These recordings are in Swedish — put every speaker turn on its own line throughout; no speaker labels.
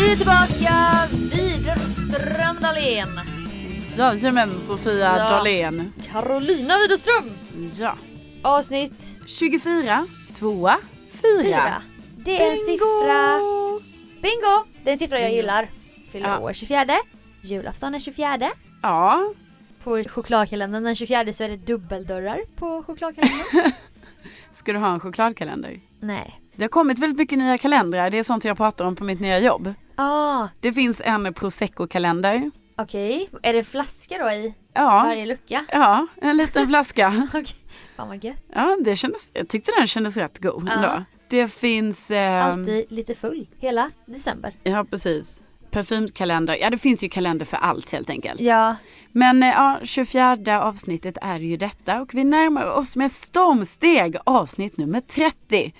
tillbaka, Widerström Dahlén.
Jajamän, Sofia
Ja.
Dahlén.
Carolina Widerström.
Ja.
Avsnitt
24, tvåa, fyra.
fyra. Det är en siffra. Bingo! Det är en siffra jag gillar. Fyller
Ja.
år 24. Julafton är 24.
Ja,
På chokladkalendern den 24 så är det dubbeldörrar på chokladkalendern.
ska du ha en chokladkalender?
Nej.
Det har kommit väldigt mycket nya kalendrar. Det är sånt jag pratar om på mitt nya jobb.
Ah,
Det finns en prosecco-kalender.
okej. Är det flaska då i
Ja,
varje lucka?
ja, en liten flaska.
Okej. Fan vad gött.
Ja, det kändes, jag tyckte den kändes rätt god
Ja.
ändå. Det finns... ehm,
Alltid lite full. Hela december.
Ja, precis. Parfymkalender. Ja, det finns ju kalender för allt helt enkelt.
Ja.
Men eh, ja, 24 avsnittet är ju detta och vi närmar oss med stormsteg avsnitt nummer 30.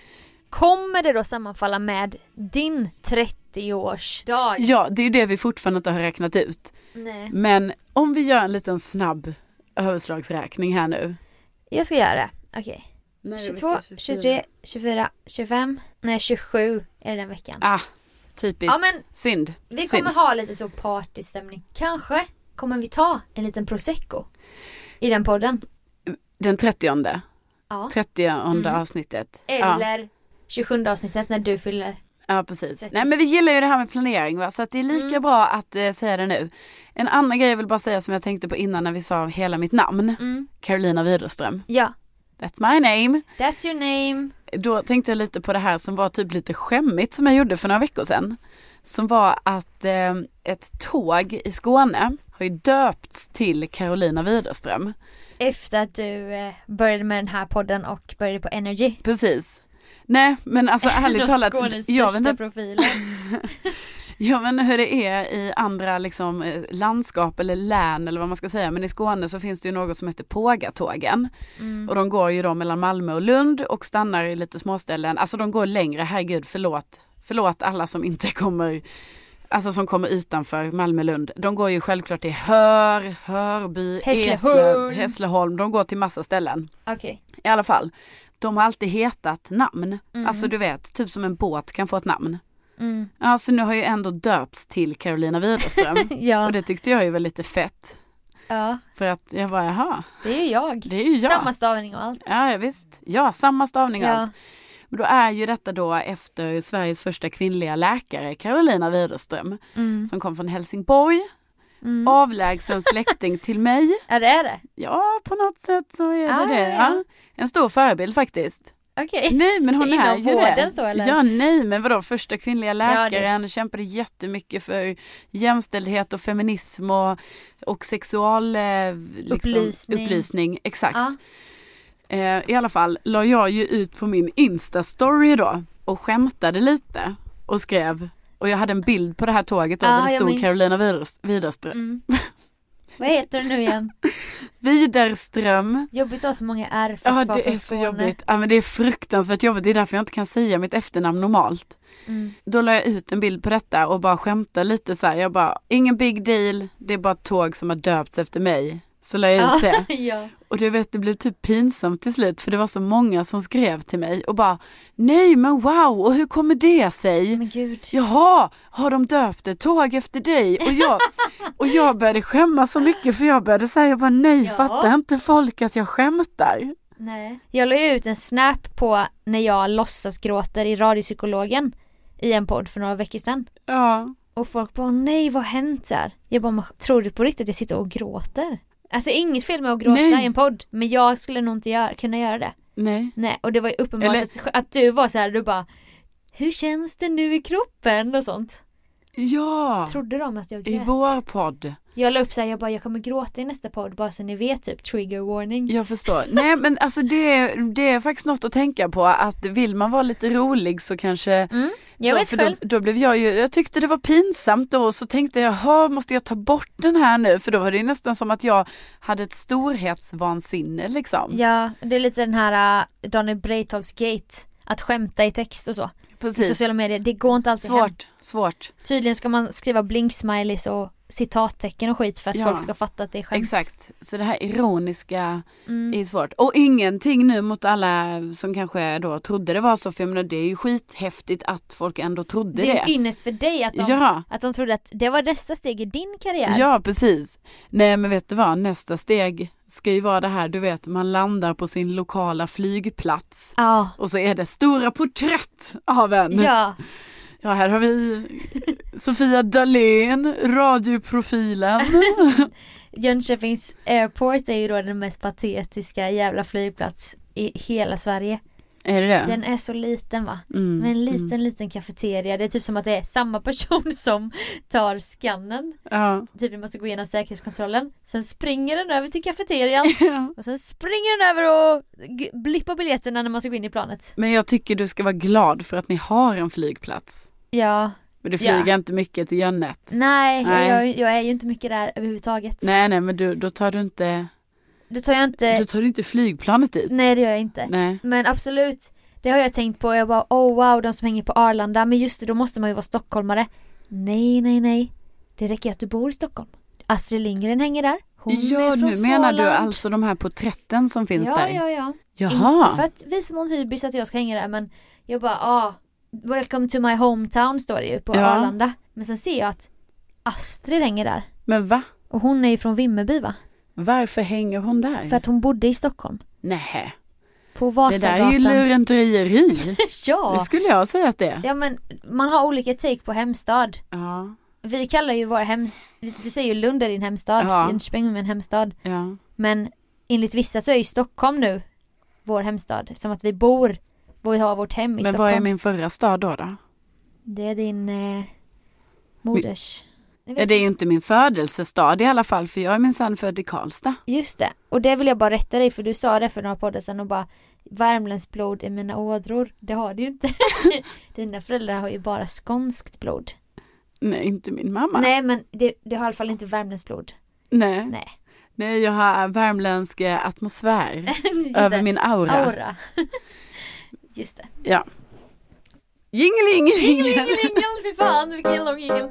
Kommer det då sammanfalla med din 30-årsdag?
Ja, det är ju det vi fortfarande inte har räknat ut.
Nej.
Men om vi gör en liten snabb överslagsräkning här nu.
Jag ska göra det. Okej. 22, 23, 24, 25. Nej 27 är det den veckan.
Ah, typiskt.
Ja, men-
Synd.
Vi
synd.
kommer ha lite så partystämning. Kanske kommer vi ta en liten prosecco i den podden.
Den 30.
Ja.
30
Mm.
avsnittet. Ja,
Eller 27 avsnittet när du fyller.
ja, precis.
30.
Nej, men vi gillar ju det här med planering va? så att det är lika
Mm.
bra att eh, säga det nu. En annan grej jag vill bara säga som jag tänkte på innan när vi sa hela mitt namn.
Mm.
Carolina Widerström.
Ja.
That's my name.
That's your name.
Då tänkte jag lite på det här som var typ lite skämmigt som jag gjorde för några veckor sedan. Som var att eh, ett tåg i Skåne har ju döpts till Carolina Widerström.
Efter att du eh, började med den här podden och började på Energy.
Precis. Nej men alltså ärligt talat,
Skånes
jag vet,
största
inte,
profilen.
jag vet inte hur det är i andra liksom, eh, landskap eller län eller vad man ska säga men i Skåne så finns det ju något som heter Pågatågen
Mm.
och de går ju då mellan Malmö och Lund och stannar i lite småställen, alltså de går längre, herregud förlåt, förlåt alla som inte kommer Alltså som kommer utanför Malmö, Lund. De går ju självklart till Hör, Hörby,
Hässleholm.
Eslöv, Hässleholm. De går till massa ställen.
Okej.
I alla fall. De har alltid hetat namn.
Mm.
Alltså du vet, typ som en båt kan få ett namn.
Mm.
Ja, så Alltså, nu har ju ändå döpts till Carolina Widerström.
Ja.
och det tyckte jag ju var lite fett.
ja,
För att jag bara, jaha,
det är ju jag.
det är ju jag.
Samma stavning och allt.
Ja, ja, visst. Ja, samma stavning och
Ja.
allt. Men då är ju detta då efter Sveriges första kvinnliga läkare, Carolina Widerström,
Mm.
som kom från Helsingborg,
Mm.
avlägsen släkting till mig.
Ja, det är det.
Ja, på något sätt så är det
Ah,
det.
ja.
Ja. En stor förebild faktiskt.
Okej.
Nej men hon
Inom
är ju
vården
det.
så, eller?
Ja nej men vadå första kvinnliga
det-
läkaren kämpade jättemycket för jämställdhet och feminism och, och sexual eh, liksom,
Upplysning.
upplysning. Exakt.
Ja.
Eh, I alla fall la jag ju ut på min Insta-story då och skämtade lite och skrev och jag hade en bild på det här tåget då
Ah,
där det
jag
stod
minns.
Carolina Widers- Widerström.
Mm. Vad heter du nu igen?
Widerström.
Jobbigt att ha så många R fast
Ja
vara
det
från
är så
Skåne.
jobbigt. Ja men det är fruktansvärt jobbigt. Det är därför jag inte kan säga mitt efternamn normalt.
Mm.
Då la jag ut en bild på detta och bara skämtade lite så här. Jag bara, ingen big deal, det är bara ett tåg som har döpts efter mig. Så la jag ut det.
ja.
Och du vet, det blev typ pinsamt till slut för det var så många som skrev till mig och bara, nej men wow, och hur kommer det sig?
Men gud.
Jaha, har de döpt ett tåg efter dig? Och jag, och jag började skämmas så mycket för jag började säga, jag bara nej,
Ja.
fattar inte folk att jag skämtar?
Nej. Jag la ju ut en snap på när jag låtsas gråter i Radiopsykologen i en podd för några veckor sedan.
Ja,
Och folk bara nej vad har hänt så här? Jag bara "Men tror du på riktigt att jag sitter och gråter? Alltså inget fel med att gråta
Nej.
i en podd men jag skulle nog inte göra, kunna göra det.
nej.
Nej och det var ju uppenbart
Eller-
att, att du var så här, du bara Hur känns det nu i kroppen och sånt?
Ja,
Trodde de att jag
i
grät?
vår podd.
Jag la upp såhär, jag bara jag kommer gråta i nästa podd bara så ni vet typ trigger warning.
Jag förstår. Nej men alltså det, det är faktiskt något att tänka på att vill man vara lite rolig så kanske
Mm, jag
så,
vet
för
själv.
Då, då blev jag ju, jag tyckte det var pinsamt då och så tänkte jag, jaha måste jag ta bort den här nu? För då var det ju nästan som att jag hade ett storhetsvansinne liksom.
äh, Ja, det är lite den här uh, Daniel Breitholtz gate. Att skämta i text och så. i
precis.
sociala medier. Det går inte alltid hem.
Svårt, svårt.
Tydligen ska man skriva blink-smileys och citattecken och skit för att
Ja.
folk ska fatta att det är skämt.
Exakt. Så det här ironiska
Mm.
är svårt. Och ingenting nu mot alla som kanske då trodde det var så. För jag menar, det är ju skithäftigt att folk ändå trodde
Det är en
det.
ynnest för dig att de,
Ja,
att de trodde att det var nästa steg i din karriär.
ja precis. Nej men vet du vad, nästa steg ska ju vara det här, du vet man landar på sin lokala flygplats.
Ja.
Och så är det stora porträtt av en.
Ja,
Ja, här har vi Sofia Dalén, radioprofilen.
Jönköpings airport är ju då den mest patetiska jävla flygplats i hela Sverige.
Är det det?
Den är så liten va?
Mm,
Med en liten
mm.
liten kafeteria. Det är typ som att det är samma person som tar skannen.
Ja.
Typ vi måste gå igenom säkerhetskontrollen. Sen springer den över till kafeterian. Och sen springer den över och g- blippar biljetterna när man ska gå in i planet.
Men jag tycker du ska vara glad för att ni har en flygplats.
Ja.
Men du
Ja.
flyger inte mycket till Jönnet.
Nej,
Nej.
Jag, jag är ju inte mycket där överhuvudtaget.
Nej, nej, men du, då tar du inte,
Då tar jag inte...
då tar du inte flygplanet dit.
Eh. Nej det gör jag inte.
Nej.
Men absolut, det har jag tänkt på. Jag bara oh wow, de som hänger på Arlanda. Men just det, då måste man ju vara stockholmare. Nej, nej, nej. Det räcker att du bor i Stockholm. Astrid Lindgren hänger där. Hon
Ja,
är
nu
från
menar
Småland.
du alltså de här porträtten som finns
ja,
där?
Ja, ja, Inte för
Jaha.
att visa någon hybris att jag ska hänga där men jag bara ah, welcome to my hometown står det ju på
Ja.
Arlanda. Men sen ser jag att Astrid hänger där.
Men va?
Och hon är ju från Vimmerby va?
Varför hänger hon där?
För att hon bodde i Stockholm.
Nej,
På
det där är
Vasagatan.
ju lurendrejeri. Det
ja!
skulle jag säga att det är.
Ja men man har olika take på hemstad.
Ja.
Vi kallar ju vår hem, du säger ju Lund är din hemstad,
Ja.
Jönköping är min hemstad.
ja.
Men enligt vissa så är ju Stockholm nu vår hemstad, som att vi bor, vi har vårt hem i
Men vad
Stockholm.
är min förra stad då? då?
Det är din eh, moders... Jag vet
Ja, det är ju inte min födelsestad i alla fall för jag är minsann född i Karlstad.
inte. Just det, och det vill jag bara rätta dig för du sa det för några poddar sedan och bara Värmlands blod är mina ådror, det har du ju inte. Dina föräldrar har ju bara skånskt blod.
Nej, inte min mamma.
Nej men det, det har i alla fall inte Värmlands blod.
Nej.
Nej.
Nej, jag har värmländsk eh, atmosfär
Just
över
det.
min aura.
Aura. Just det.
Jingling!
Jingel, jingel, fy fan vilken lång jingel.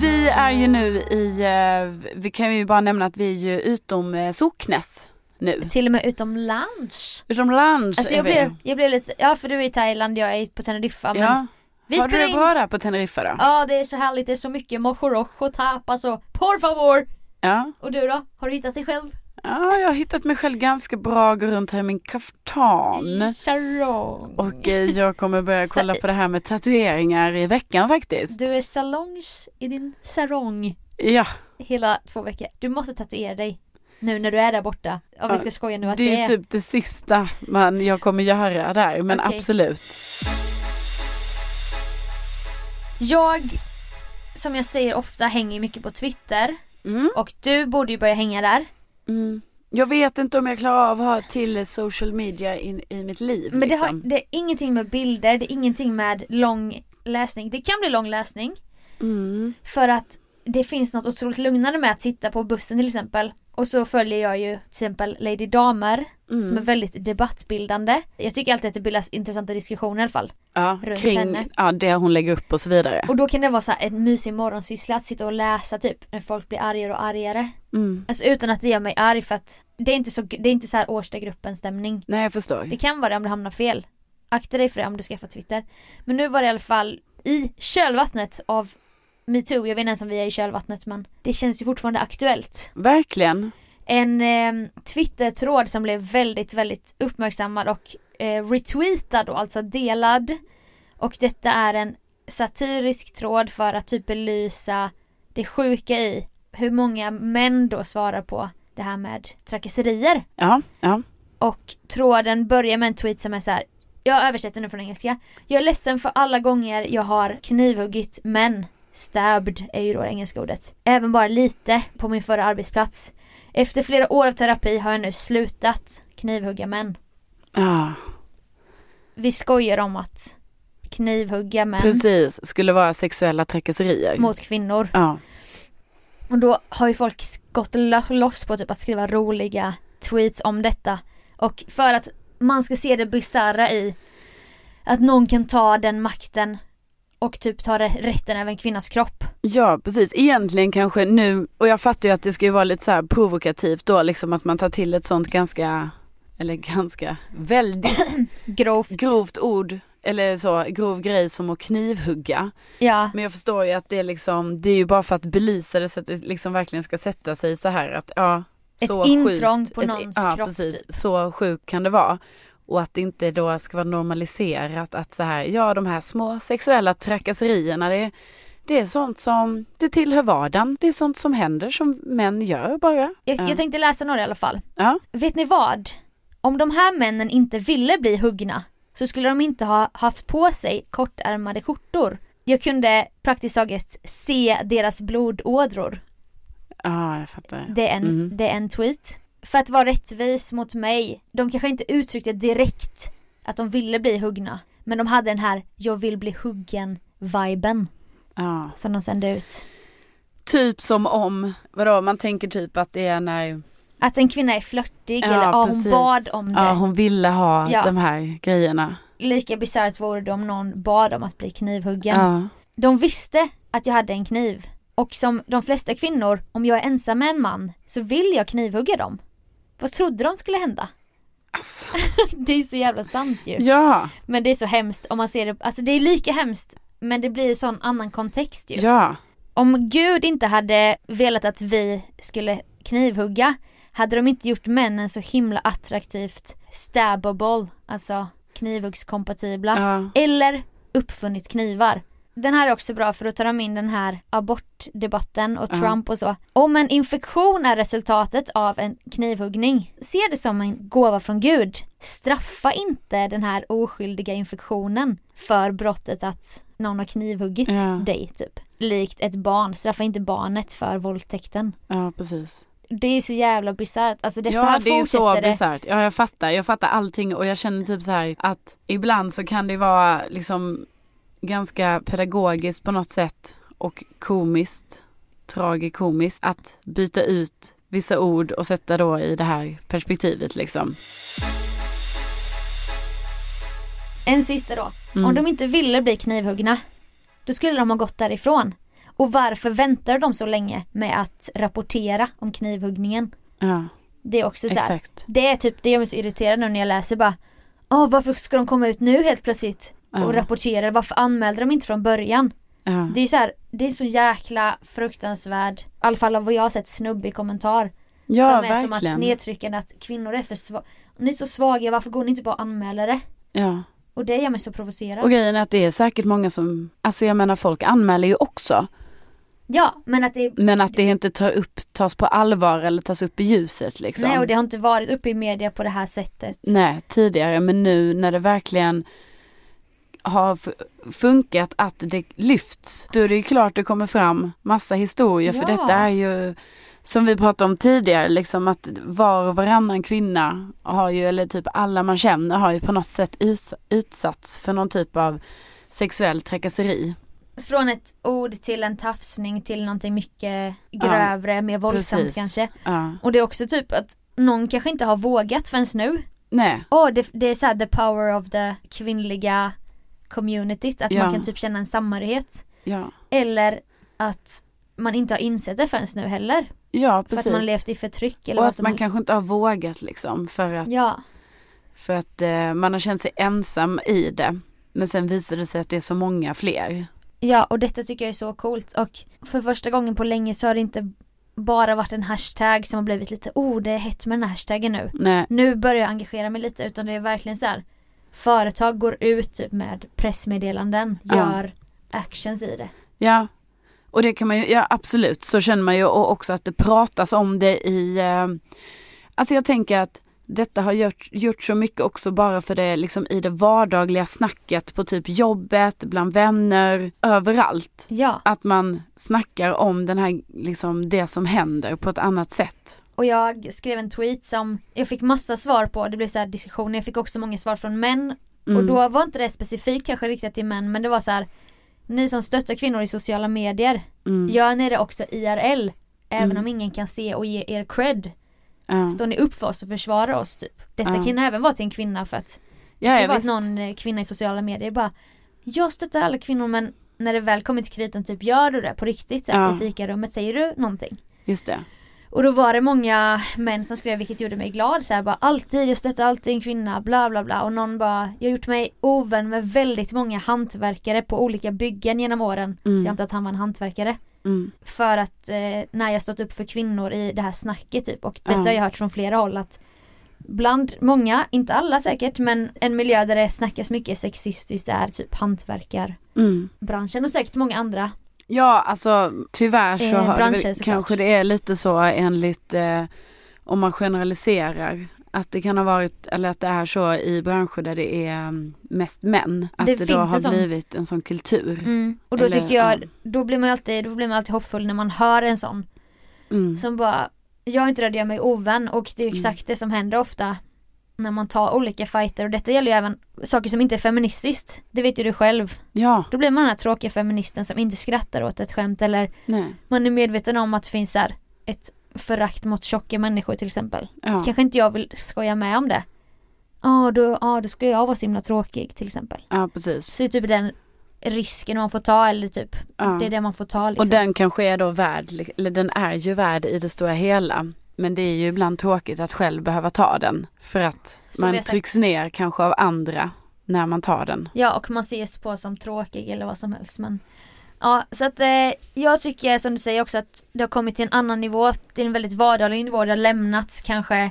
Vi är ju nu i, eh, vi kan ju bara nämna att vi är ju utom eh, Socknes nu.
Till och med utomlands.
Utomlands
Alltså
är
jag
vi.
blev, jag blev lite, ja för du är i Thailand, jag är på Teneriffa men
ja.
vi
har du
spelar
det
in,
bra där på Teneriffa då?
ja det är så härligt, det är så mycket mojoroch och tapas och por favor.
Ja.
Och du då? Har du hittat dig själv?
ja, jag har hittat mig själv ganska bra, går runt här i min kaftan.
Sarong.
Och eh, jag kommer börja
Så-
kolla på det här med tatueringar i veckan faktiskt.
Du är salongs i din sarong
Ja,
hela två veckor. Du måste tatuera dig nu när du är där borta. Om vi
Ja,
ska skoja nu att
det är ju
är
typ det sista man jag kommer göra där, men
Okej.
absolut.
Jag, som jag säger ofta, hänger mycket på Twitter.
Mm.
Och du borde ju börja hänga där.
Mm. Jag vet inte om jag klarar av att ha till social media in, i mitt liv.
Men det, har,
liksom.
det är ingenting med bilder, det är ingenting med lång läsning. Det kan bli lång läsning.
mm.
För att det finns något otroligt lugnande med att sitta på bussen till exempel. Och så följer jag ju till exempel Lady Damer
Mm.
som är väldigt debattbildande. Jag tycker alltid att det bildas intressanta diskussioner i alla fall.
ja,
runt henne.
kring ja, det hon lägger upp och så vidare.
Och då kan det vara så här en mysig morgonsyssla att sitta och läsa typ när folk blir argare och argare.
Mm.
Alltså utan att det gör mig arg för att det är inte så, det är inte så här årsta gruppen stämning.
Nej, jag förstår.
Det kan vara det om du hamnar fel. Akta dig för det om du skaffar Twitter. Men nu var det i alla fall i kölvattnet av metoo, jag vet inte ens om vi är i kölvattnet men det känns ju fortfarande aktuellt.
Verkligen.
En eh, Twitter-tråd som blev väldigt, väldigt uppmärksammad och eh, retweetad och alltså delad. Och detta är en satirisk tråd för att typ belysa det sjuka i hur många män då svarar på det här med trakasserier.
Ja, ja.
Och tråden börjar med en tweet som är så här. Jag översätter nu från engelska. Jag är ledsen för alla gånger jag har knivhuggit män. Stabbed är ju då det engelska ordet. Även bara lite på min förra arbetsplats. Efter flera år av terapi har jag nu slutat knivhugga män.
ja.
Vi skojar om att knivhugga män
Precis, skulle vara sexuella trakasserier.
mot kvinnor.
Ja.
Och då har ju folk s- gått lo- loss på typ att skriva roliga tweets om detta. Och för att man ska se det bisarra i att någon kan ta den makten och typ ta re- rätten över en kvinnas kropp.
Ja precis, egentligen kanske nu, och jag fattar ju att det ska ju vara lite så här provokativt då liksom att man tar till ett sånt ganska, eller ganska, väldigt
Grovt.
grovt ord eller så, grov grej som att knivhugga.
ja.
Men jag förstår ju att det är liksom, det är ju bara för att belysa det så att det liksom verkligen ska sätta sig så här att ja,
Ett
så
intrång
sjukt,
på någons
ja,
kropp,
precis,
typ.
så sjukt kan det vara. Och att det inte då ska vara normaliserat att så här, ja de här små sexuella trakasserierna det, det är sånt som, det tillhör vardagen. Det är sånt som händer som män gör bara.
Jag,
Ja.
jag tänkte läsa några i alla fall.
Ja.
Vet ni vad? Om de här männen inte ville bli huggna så skulle de inte ha haft på sig kortärmade skjortor. Jag kunde praktiskt taget se deras blodådror.
Ja, jag fattar.
Det är, en,
Mm.
det är en tweet. För att vara rättvis mot mig, de kanske inte uttryckte direkt att de ville bli huggna. Men de hade den här jag vill bli huggen-viben
Ja.
som de sände ut.
Typ som om, vadå man tänker typ att det är när
Att en kvinna är flörtig eller
Ja,
ja, hon
precis.
bad om det.
ja, hon ville ha
Ja.
de här grejerna.
Lika bisarrt vore det om någon bad om att bli knivhuggen.
Ja.
De visste att jag hade en kniv. Och som de flesta kvinnor, om jag är ensam med en man, så vill jag knivhugga dem. Vad trodde de skulle hända?
Alltså.
Det är så jävla sant ju.
Ja,
Men det är så hemskt om man ser det, alltså det är lika hemskt men det blir en sån annan kontext ju.
ja,
Om Gud inte hade velat att vi skulle knivhugga hade de inte gjort männen så himla attraktivt stabbable, alltså knivhuggskompatibla.
ja.
Eller uppfunnit knivar. Den här är också bra för att ta in den här abortdebatten och
Ja.
Trump och så. Om en infektion är resultatet av en knivhuggning, se det som en gåva från Gud. Straffa inte den här oskyldiga infektionen för brottet att någon har knivhuggit
Ja.
dig typ. Likt ett barn, straffa inte barnet för våldtäkten.
Ja precis.
Det är ju så jävla bisarrt, alltså det, är så
Ja
här
det är så
fortsätter det.
bisarrt. Ja jag fattar, jag fattar allting och jag känner typ så här att ibland så kan det vara liksom ganska pedagogiskt på något sätt och komiskt, tragikomiskt att byta ut vissa ord och sätta då i det här perspektivet liksom.
En sista då.
Mm.
Om de inte ville bli knivhuggna, då skulle de ha gått därifrån. Och varför väntar de så länge med att rapportera om knivhuggningen?
Ja,
Det är också så här,
exakt.
det är typ, det gör mig så irriterad nu när jag läser bara Åh varför ska de komma ut nu helt plötsligt och
Ja,
rapportera? Varför anmälde de inte från början?
ja.
Det är ju så här, det är så jäkla fruktansvärd, i alla fall av vad jag har sett snubbig kommentar.
ja
som är
verkligen.
som att nedtryckande att kvinnor är för svaga. Ni är så svaga, varför går ni inte bara och anmäler det?
ja.
Och det gör mig så provocerad.
Och grejen är att det är säkert många som, alltså jag menar folk anmäler ju också.
Ja, men att det är
Men att det inte tar upp, tas på allvar eller tas upp i ljuset liksom.
Nej och det har inte varit uppe i media på det här sättet.
Nej, tidigare men nu när det verkligen har fu- funkat att det lyfts. Då är det ju klart det kommer fram massa historier för
Ja.
detta är ju som vi pratade om tidigare liksom att var och varannan kvinna har ju eller typ alla man känner har ju på något sätt us- utsatts för någon typ av sexuell trakasseri.
Från ett ord till en tafsning till någonting mycket grövre, mer våldsamt
precis.
kanske.
Ja.
Och det är också typ att någon kanske inte har vågat förrän nu.
Nej,
Åh det, det är såhär the power of the kvinnliga communityt, att
Ja.
man kan typ känna en samhörighet.
ja.
Eller att man inte har insett det förrän nu heller.
Ja,
För
precis.
att man levt i förtryck eller
och
vad
att
som
man
helst.
kanske inte har vågat liksom för att
Ja,
För att eh, man har känt sig ensam i det. Men sen visar det sig att det är så många fler.
ja och detta tycker jag är så coolt och för första gången på länge så har det inte bara varit en hashtag som har blivit lite oh det är hett med den här hashtaggen nu.
Nej,
nu börjar jag engagera mig lite utan det är verkligen så här företag går ut typ med pressmeddelanden,
Ja.
gör actions i det.
ja. Och det kan man ju, ja absolut, så känner man ju och också att det pratas om det i, eh, alltså jag tänker att detta har gjort, gjort så mycket också bara för det liksom i det vardagliga snacket på typ jobbet, bland vänner, överallt.
Ja,
Att man snackar om den här, liksom det som händer på ett annat sätt.
och jag skrev en tweet som jag fick massa svar på, det blev så här diskussioner, jag fick också många svar från män
Mm.
och då var inte det specifikt kanske riktat till män men det var så här ni som stöttar kvinnor i sociala medier,
mm.
gör ni det också IRL? Även
Mm.
om ingen kan se och ge er cred.
Ja.
Står ni upp för oss och försvarar oss typ. Detta
Ja.
kan ju även vara till en kvinna för att
Mm. Ja,
det
ja,
var att
visst.
någon eh, kvinna i sociala medier bara Jag stöttar alla kvinnor men när det väl kommer till kritan typ gör du det på riktigt så här,
Ja.
i fikarummet säger du någonting.
Just det.
Och då var det många män som skrev vilket gjorde mig glad så här, bara alltid jag stöttar alltid en kvinna bla bla bla och någon bara jag har gjort mig ovän med väldigt många hantverkare på olika byggen genom åren.
Mm.
Så jag antar att han var en hantverkare.
Mm.
För att eh, när jag stått upp för kvinnor i det här snacket typ och detta
Ja.
har jag hört från flera håll att Bland många, inte alla säkert, men en miljö där det snackas mycket sexistiskt är typ hantverkarbranschen
Mm.
och säkert många andra.
Ja, alltså tyvärr så
Eh,
har
branscher
det, väl-
såklart.
kanske det är lite så enligt eh, om man generaliserar att det kan ha varit eller att det är så i branscher där det är mm, mest män. Att
Det
det, då
finns
har
en sån-
blivit en sån kultur.
Mm. Och då
Eller,
tycker jag,
ja.
då blir man ju alltid, då blir man alltid hoppfull när man hör en sån
Mm.
som bara Jag är inte rädd, jag är mig ovän och det är ju exakt det som händer ofta när man tar olika fighter och detta gäller ju även saker som inte är feministiskt. Det vet ju du själv.
Ja,
Då blir man den här tråkiga feministen som inte skrattar åt ett skämt eller
nej.
man är medveten om att det finns så här ett förakt mot tjocka människor till exempel. Så
Ja.
kanske inte jag vill skoja med om det. Ja, då, ja, då ska jag vara så himla tråkig till exempel.
ja, precis.
Så det är typ den risken man får ta eller typ
Ja.
det är det man får ta liksom.
Och den kanske är då värd, li- eller den är ju värd i det stora hela. Men det är ju ibland tråkigt att själv behöva ta den. För att
Som vi
man
har sagt.
trycks ner kanske av andra när man tar den.
Ja och man ses på som tråkig eller vad som helst men Ja så att eh, jag tycker som du säger också att det har kommit till en annan nivå Det är en väldigt vardaglig nivå, det har lämnats kanske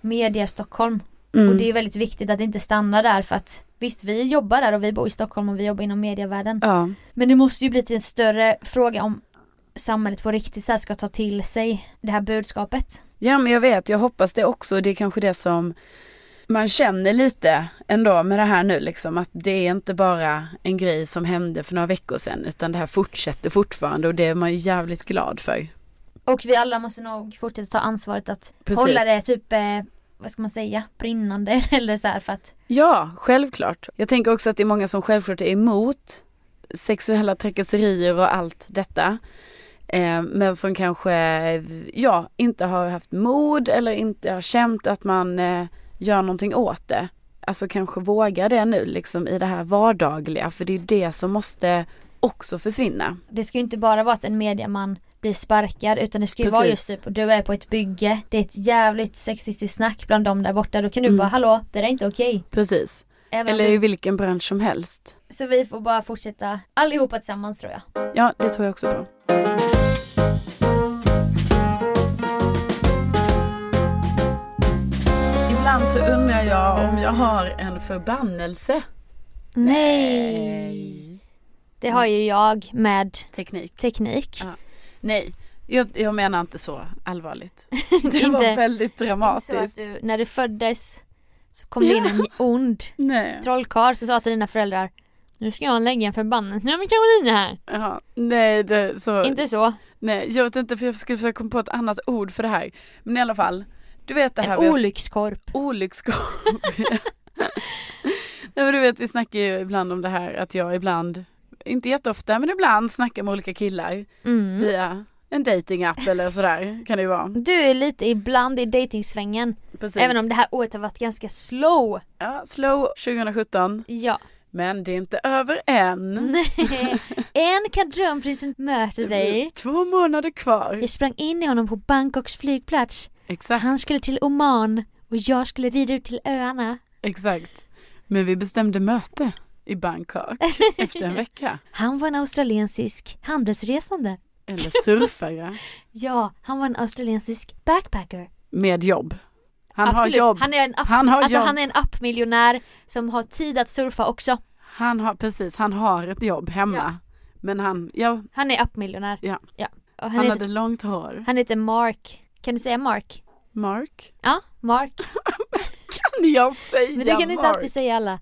media Stockholm
Mm.
och det är väldigt viktigt att det inte stannar där för att Visst vi jobbar där och vi bor i Stockholm och vi jobbar inom medievärlden
ja.
Men det måste ju bli till en större fråga om samhället på riktigt så här ska ta till sig det här budskapet.
Ja men jag vet, jag hoppas det också. Det är kanske det som man känner lite ändå med det här nu liksom. Att det är inte bara en grej som hände för några veckor sedan. Utan det här fortsätter fortfarande och det är man ju jävligt glad för.
Och vi alla måste nog fortsätta ta ansvaret att
Precis.
hålla det typ, eh, vad ska man säga, brinnande eller så här för att
Ja, självklart. Jag tänker också att det är många som självklart är emot sexuella trakasserier och allt detta. Eh, men som kanske, ja, inte har haft mod eller inte har känt att man eh, gör någonting åt det. Alltså kanske våga det nu liksom i det här vardagliga för det är det som måste också försvinna.
Det ska ju inte bara vara att en mediaman blir sparkad utan det ska ju
Precis.
vara just typ, du är på ett bygge, det är ett jävligt sexistiskt snack bland dem där borta, då kan du
Mm.
bara hallå, det där är inte okej.
Precis.
Även om
Eller i
vi,
vilken bransch som helst.
så vi får bara fortsätta allihopa tillsammans tror jag.
Ja, det tror jag också på. Ibland så undrar jag om jag har en förbannelse. Eh,
Det har ju jag med
Teknik.
teknik.
Ja, Nej, jag, jag menar inte så allvarligt. Det
Inte-
var väldigt
Så att
dramatiskt.
du, när du föddes så kom det in en ond
Nej.
trollkarl som sa till dina föräldrar Nu ska jag lägga en förbannelse med Karolina här.
Ja, nej, det, så,
Inte så.
nej, jag vet inte för jag skulle försöka komma på ett annat ord för det här. Men i alla fall, du vet det här
En
vi har-
olyckskorp.
olyckskorp. Nej men du vet vi snackar ju ibland om det här att jag ibland, inte jätteofta men ibland snackar med olika killar
Mm.
via en datingapp eller sådär kan det ju vara.
Du är lite ibland i dejtingsvängen.
Precis.
Även om det här året har varit ganska slow.
ja, slow 2017
Ja.
men det är inte över
Mm,
än.
Nej. en kadrömprinsen möter dig.
Två månader kvar.
Jag sprang in i honom på Bangkoks flygplats.
Exakt,
Han skulle till Oman och jag skulle rida ut till öarna.
exakt. Men vi bestämde möte i Bangkok efter en vecka.
Han var en australiensisk handelsresande.
Eller surfare
Ja, han var en australiensisk backpacker.
med jobb. Han
Absolut.
har jobb.
Han är en app,
Han har
alltså
jobb.
han är en appmiljonär som har tid att surfa också.
Han har, precis, han har ett jobb hemma.
Ja.
Men han, ja,
Han är appmiljonär.
Ja.
ja. Och han,
han
heter,
hade långt hår.
han heter Mark. Kan du säga Mark?
Mark.
Ja, Mark.
Kan jag säga
Men du kan inte
Mark?
alltid säga alla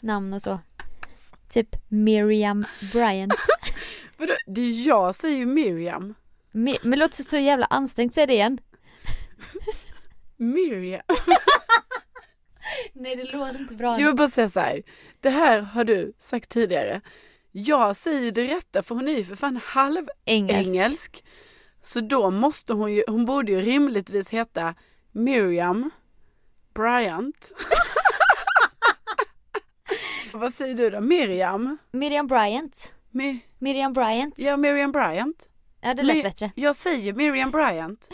namn och så. Typ Miriam Bryant.
Vadå? det är jag säger ju Miriam.
Mi- Men låter så jävla ansträngt, säg det igen.
Miriam.
Nej det låter inte bra.
Jag vill bara säga så här. Det här har du sagt tidigare. Jag säger det rätta för hon är ju för fan halv
Engelsk.
engelsk. Så då måste hon ju, hon borde ju rimligtvis heta Miriam Bryant. Vad säger du då? Miriam?
Miriam Bryant.
Mi-
Miriam Bryant. Ja,
ja, Miriam Bryant.
det lät
Mi-
bättre.
Jag säger Miriam Bryant.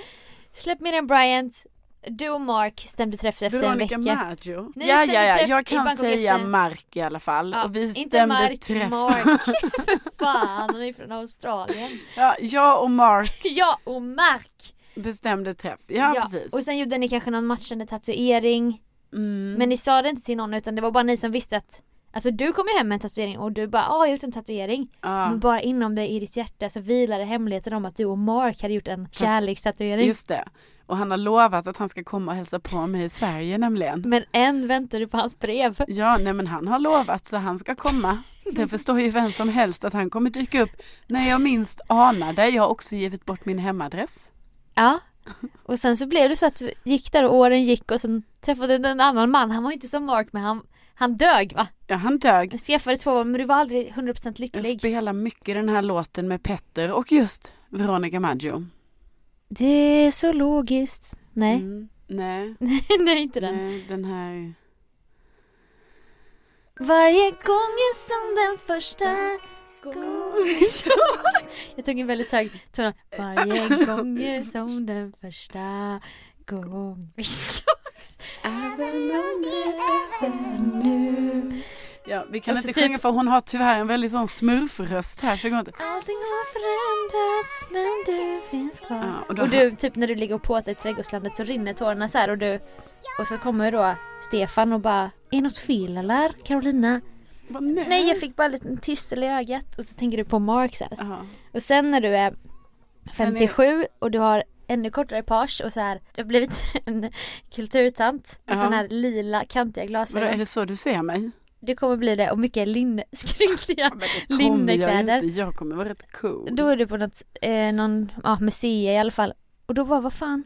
Släpp Miriam Bryant. Du och Mark stämde träff efter
Veronica
en vecka.
Maggio.
Ni
ja,
stämde
ja, ja.
träff
Jag
i
kan
Bangkok
säga
efter-
Mark i alla fall.
Ja,
och vi
inte
stämde
Mark,
träff.
Mark. För fan, han är från Australien.
Ja, jag och Mark
ja, och Mark.
bestämde träff. Ja, precis.
Och sen gjorde ni kanske någon matchande tatuering.
Mm.
Men ni sa det inte till någon utan det var bara ni som visste att Alltså du kom ju hem med en tatuering och du bara ah, jag har gjort en tatuering.
ja.
Men bara inom dig i ditt hjärta så vilade hemligheten om att du och Mark hade gjort en kärlekstatuering.
Just det. Och han har lovat att han ska komma och hälsa på mig i Sverige nämligen.
Men än väntar du på hans brev.
Ja, nej men han har lovat så han ska komma. Det förstår ju vem som helst att han kommer dyka upp när jag minst anar det. Jag har också givit bort min hemadress.
Ja. Och sen så blev det så att du gick där och åren gick och sen träffade du en annan man. Han var ju inte som Mark men han, han dög va?
Ja, han dög.
Jag skaffade två barn, men du var aldrig 100%
Jag
lycklig.
spelar mycket den här låten med Petter och just Veronica Maggio.
Det är så logiskt. Nej.
Mm, nej,
Nej inte den.
nej, den här.
Varje gång är som den första gången som- Jag tog en väldigt hög ton. Varje gång är som den första gången vi sågs. Nu.
Ja, vi kan
Och så
inte
typ-
sjunga för hon har tyvärr en väldigt sån smurfröst här så det går inte.
Allting har förändrats men du finns kvar.
Ja, och då,
Och du, typ när du ligger och påtar i trädgårdslandet så rinner tårarna så här och du och så kommer då Stefan och bara Är något fel eller? Carolina?
Vad, nej.
Nej jag fick bara en liten tistel i ögat och så tänker du på Mark så här.
Ja.
Och sen när du är
Sen är-
57 och du har ännu kortare page och så här, du har blivit en kulturtant med
Ja.
sån här lila kantiga
Vadå, är
glasögon.
det så du ser mig?
Du kommer bli det och mycket linne, skrynkliga.
Ja, men det kommer
Linnekläder.
Jag, inte. jag kommer vara rätt cool.
Då är du på något, eh, någon, ja museum i alla fall. Och då var vad fan?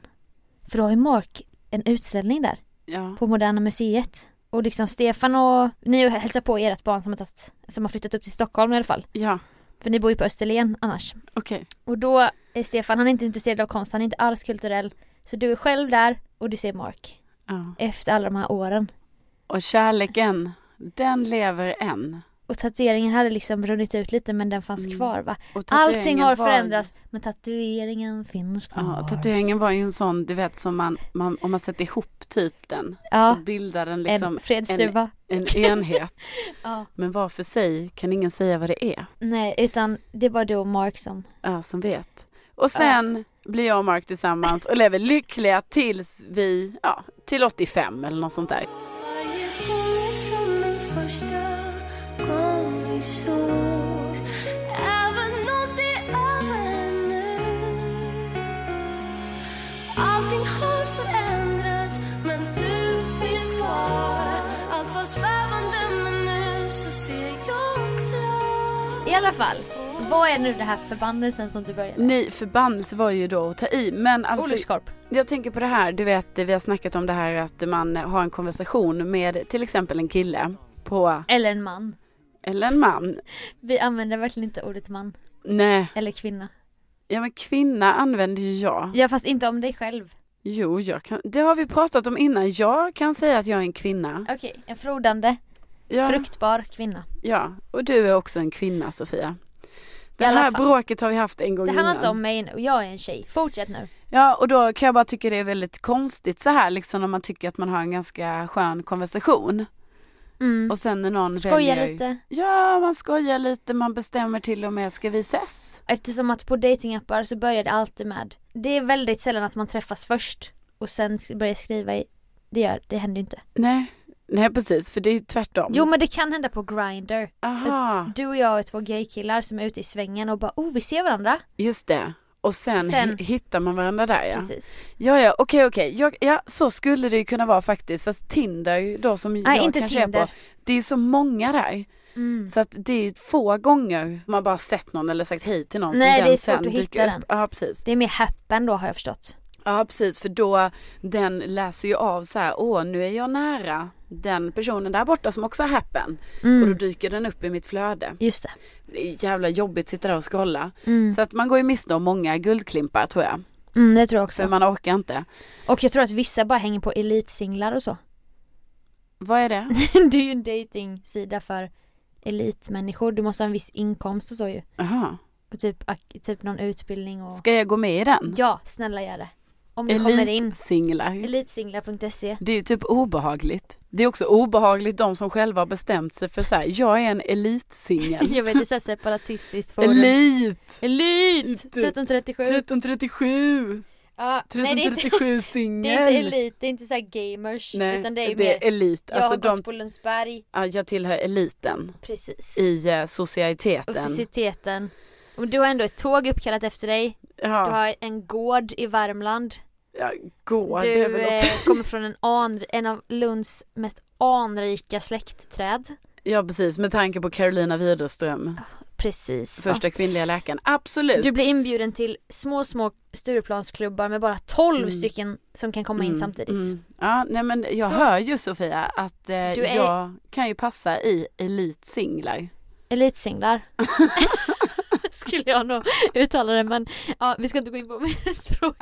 För då har ju Mark en utställning där
Ja.
på Moderna Museet. Och liksom Stefan och, ni hälsar på ert barn som har, tagit, som har flyttat upp till Stockholm i alla fall.
Ja,
För ni bor ju på Österlen annars.
okej.
Och då är Stefan, han är inte intresserad av konst, han är inte alls kulturell. Så du är själv där och du ser Mark.
Ja.
Efter alla de här åren.
Och kärleken, den lever än.
Och tatueringen hade liksom runnit ut lite men den fanns
Mm.
kvar va?
Och tatueringen
Allting har
var-
förändrats men tatueringen finns kvar.
Ja, tatueringen var ju en sån, du vet som man, man om man sätter ihop typ den,
Ja.
så bildar den liksom
en fredsduva.
en, enhet.
Ja.
Men var för sig kan ingen säga vad det är,
Nej, utan det var du och Mark som...
ja, som vet. Och sen blir jag och Mark tillsammans och lever lyckliga tills vi, ja, till 85 eller något sånt där.
Varje gång är som den första gång vi sågs Även om det är över nu Allting har förändrats men du finns kvar Allt var svävande men nu så ser jag klart
I alla fall, vad är nu det här förbannelsen som du började med?
Nej, förbannelse var ju då att ta i, men alltså
Olyckskorp.
Jag tänker på det här, du vet vi har snackat om det här att man har en konversation med till exempel en kille på,
Eller en man.
eller en man.
Vi använder verkligen inte ordet man.
Nej,
Eller kvinna.
ja men kvinna använder ju jag.
Ja fast inte om dig själv.
Jo, jag kan, det har vi pratat om innan. Jag kan säga att jag är en kvinna.
Okej, en frodande,
Ja,
fruktbar kvinna.
ja. och du är också en kvinna Sofia. Det
alla
här
fall.
bråket har vi haft en gång
Det handlar
innan.
inte om mig nu, jag är en tjej. Fortsätt nu.
Ja, och då kan jag bara tycka det är väldigt konstigt så här liksom när man tycker att man har en ganska skön konversation.
Mm.
Och sen när någon
Skoja
väljer...
lite.
Ja, man skojar lite, man bestämmer till och med, ska vi ses?
Eftersom att på datingappar så börjar det alltid med Det är väldigt sällan att man träffas först och sen sk- börjar skriva i det gör, det händer ju inte.
Nej, nej precis, för det är tvärtom.
Jo men det kan hända på Grindr.
Aha,
Du och jag är två gaykillar som är ute i svängen och bara oh vi ser varandra.
just det. Och sen,
Sen-
hi- hittar man varandra där ja.
Precis.
Ja, ja, okej, okej. Ja, ja, så skulle det ju kunna vara faktiskt. Fast Tinder då som
Nej
jag
inte
kanske är
Tinder.
på. Det är så många där.
Mm.
Så att det är få gånger man bara sett någon eller sagt hej till någon.
Nej, det
som
är
den
svårt
sen
att hitta
dyker
den.
upp. Ja, precis.
Det är mer happen då har jag förstått.
Ja, precis. För då, den läser ju av så här, åh, nu är jag nära. den personen där borta som också har happen. Och
Mm.
då dyker den upp i mitt flöde.
Just det.
Det är ju jävla jobbigt att sitta där och scrolla.
Mm.
Så att man går ju miste om många guldklimpar tror jag.
Mm, det tror jag
För
också.
man orkar inte.
Och jag tror att vissa bara hänger på elitsinglar och så.
Vad är det?
det är ju en dating-sida för elitmänniskor. Du måste ha en viss inkomst och så ju.
Jaha.
Och typ, ak- typ någon utbildning och...
Ska jag gå med i den?
Ja, snälla gör det. Om du kommer in.
Elitsinglar.
Elitsinglar.se
Det är ju typ obehagligt. Det är också obehagligt de som själva har bestämt sig för så här, jag är en elitsingel.
Jag vet, det är såhär separatistiskt forum.
Elit!
Elit! 1337.
1337!
Ja, nej det är inte,
1337
det är inte
singel!
elit, det är inte såhär gamers.
Nej,
utan det är ju
det
mer,
är elit.
jag
Alltså
har gått
de,
på Lundsberg.
ja, jag tillhör eliten
Precis.
i eh, societeten.
Toxiciteten. Och du har ändå ett tåg uppkallat efter dig. Du
ja,
har en gård i Värmland.
ja, gå, det är
du
väl något.
eh, kommer från en, an, en av Lunds mest anrika släktträd.
Ja, precis. Med tanke på Carolina Widerström,
Precis. va?
första kvinnliga läkaren. Absolut!
Du blir inbjuden till små, små Stureplansklubbar med bara 12
Mm.
stycken som kan komma in
Mm,
samtidigt.
mm. Ja, nej men jag
Så-
hör ju Sofia att eh,
är-
jag kan ju passa i elitsinglar.
Elitsinglar. Skulle jag nog uttala det men ja, vi ska inte gå in på språk,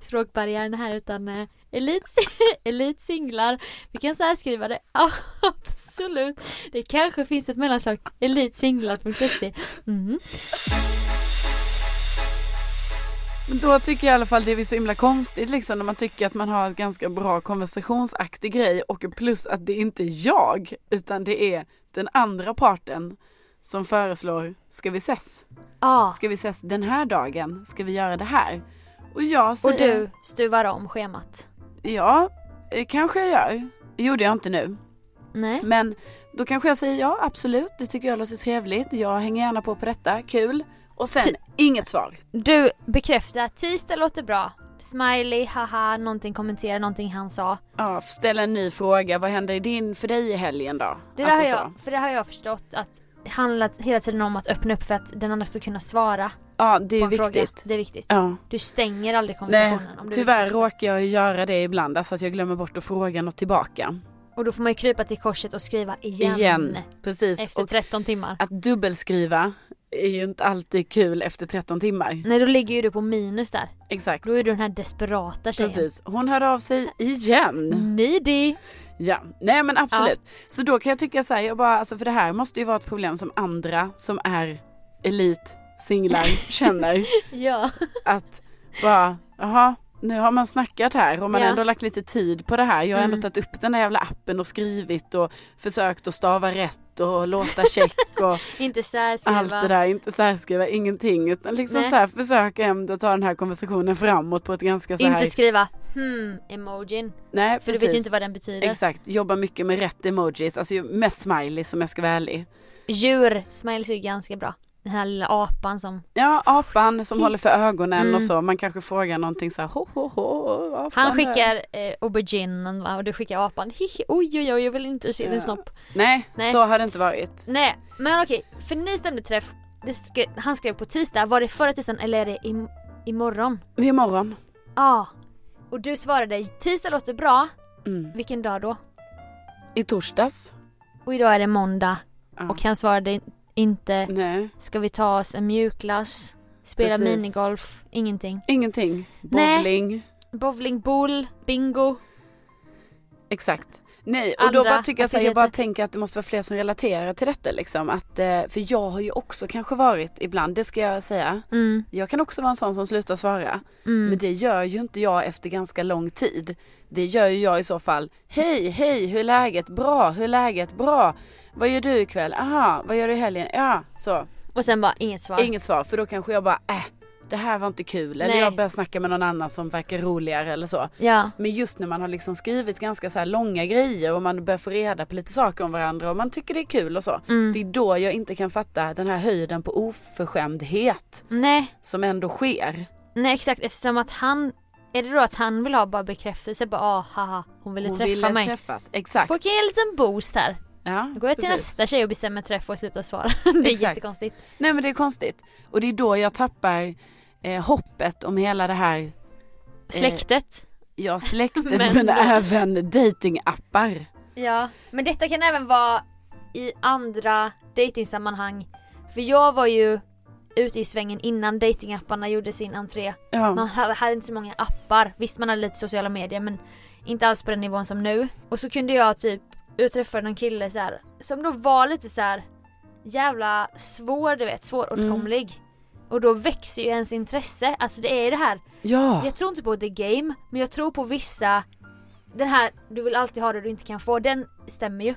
språkbarriären här utan eh, elits, elitsinglar. Vi kan särskriva det. Ja, absolut. Det kanske finns ett mellanslag. Elitsinglar.se. Mm.
Men då tycker jag i alla fall det är så himla konstigt liksom när man tycker att man har ett ganska bra konversationsaktig grej och plus att det inte är jag utan det är den andra parten som föreslår ska vi ses?
Ja,
Ska vi ses den här dagen? Ska vi göra det här? Och jag
och
säger
du stuvar om schemat.
ja, eh, kanske jag gör. Gjorde jag inte nu.
Nej.
Men då kanske jag säger ja, absolut, det tycker jag låter trevligt, jag hänger gärna på på detta, kul. Och sen
Ty-
inget svar.
Du bekräftar, tisdag låter bra. Smiley, haha, någonting kommentera, någonting han sa.
Ja, ställa en ny fråga, vad händer i din, för dig i helgen då? Alltså
Det där har jag, för det har jag förstått att det handlar hela tiden om att öppna upp för att den andra ska kunna svara
Så. Ja, det
på
är
en fråga.
viktigt.
Det är viktigt.
Ja.
Du stänger aldrig
Nej,
konversationen. om du
tyvärr
vill.
råkar jag ju göra det ibland, alltså att jag glömmer bort att fråga något tillbaka.
Och då får man ju krypa till korset och skriva igen.
Igen. Precis.
Efter
Och
13 timmar.
att dubbelskriva är ju inte alltid kul efter 13 timmar.
Nej då ligger ju du på minus där.
Exakt.
Då är du den här desperata tjejen. Mm.
Precis. Hon hörde av sig igen.
Needy.
Ja, nej men absolut. Så då kan jag tycka så här, jag bara, alltså för det här måste ju vara ett problem som andra som är elit singlar känner.
Ja.
Att bara, jaha, nu har man snackat här och man har
Ja.
ändå lagt lite tid på det här. Jag har ändå
Mm.
tagit upp den där jävla appen och skrivit och försökt att stava rätt och låta check och
Inte särskriva.
allt det där. Inte särskriva ingenting utan liksom
Nej.
så här försöka ändå ta den här konversationen framåt på ett ganska så här.
Inte skriva hmm emojin.
nej,
För du vet ju inte vad den betyder.
Exakt, jobba mycket med rätt emojis, alltså ju- med smiley som jag ska vara ärlig.
Djur. Smiles är ju ganska bra. Den här lilla apan som
Ja, apan som håller för ögonen
Mm.
och så. Man kanske frågar någonting så här, ho, ho, ho, apan
Han
där."
skickar eh, auberginen va? och du skickar apan. Hihi, oj oj oj jag vill inte se
Ja.
din snopp.
Nej,
Nej.
så har det inte varit.
Nej men okej, för ni stämde träff. Det skre- han skrev på tisdag, var det förra tisdagen eller är det im- imorgon?
Det är imorgon.
Ja. Och du svarade tisdag låter bra,
Mm.
vilken dag då?
I torsdags.
Och idag är det måndag
Ja.
och han svarade in- inte
Nej,
ska vi ta oss en mjukglass, spela
Precis.
minigolf, ingenting.
ingenting.
Nej.
Bowling.
Bowling, boule, bingo.
Exakt. Nej, och
Andra
då bara tycker jag så här, jag bara
aktiviteter.
tänker att det måste vara fler som relaterar till detta liksom. Att, eh, för jag har ju också kanske varit ibland, det ska jag säga.
Mm,
Jag kan också vara en sån som slutar svara.
mm.
Men det gör ju inte jag efter ganska lång tid. Det gör ju jag i så fall. Hej, hej, hur är läget? Bra, hur är läget? Bra. Vad gör du ikväll? Aha, vad gör du i helgen? Ja, så.
Och sen bara inget svar.
Inget svar för då kanske jag bara, äh, det här var inte kul. Eller
Nej.
jag börjar snacka med någon annan som verkar roligare eller så.
Ja.
Men just när man har liksom skrivit ganska så här långa grejer och man börjar få reda på lite saker om varandra och man tycker det är kul och så.
Mm.
Det är då jag inte kan fatta den här höjden på oförskämdhet
Nej.
som ändå sker.
Nej exakt eftersom att han Är det då att han vill ha bara bekräftelse bara ah, haha hon ville
Hon
träffa
ville
mig
träffas, exakt.
Får jag en liten boost här
Ja,
Då går jag till
precis.
nästa tjej och bestämmer träff och slutar svara Det är
Exakt.
jättekonstigt
Nej men det är konstigt. Och det är då jag tappar eh, hoppet om hela det här, Eh.
Släktet
ja släktet men,
Men-
även datingappar.
Ja, men detta kan även vara i andra datingsammanhang. För jag var ju ute i svängen innan datingapparna gjorde sin entré. Man
Ja.
hade, hade inte så många appar. Visst man hade lite sociala medier men inte alls på den nivån som nu. Och så kunde jag typ utträffa någon kille så här, som då var lite så här jävla svår du vet, svåråtkomlig. Och då växer ju ens intresse. Alltså det är ju det här
ja.
jag tror inte på the game, men jag tror på vissa Den här, du vill alltid ha det du inte kan få, den stämmer ju.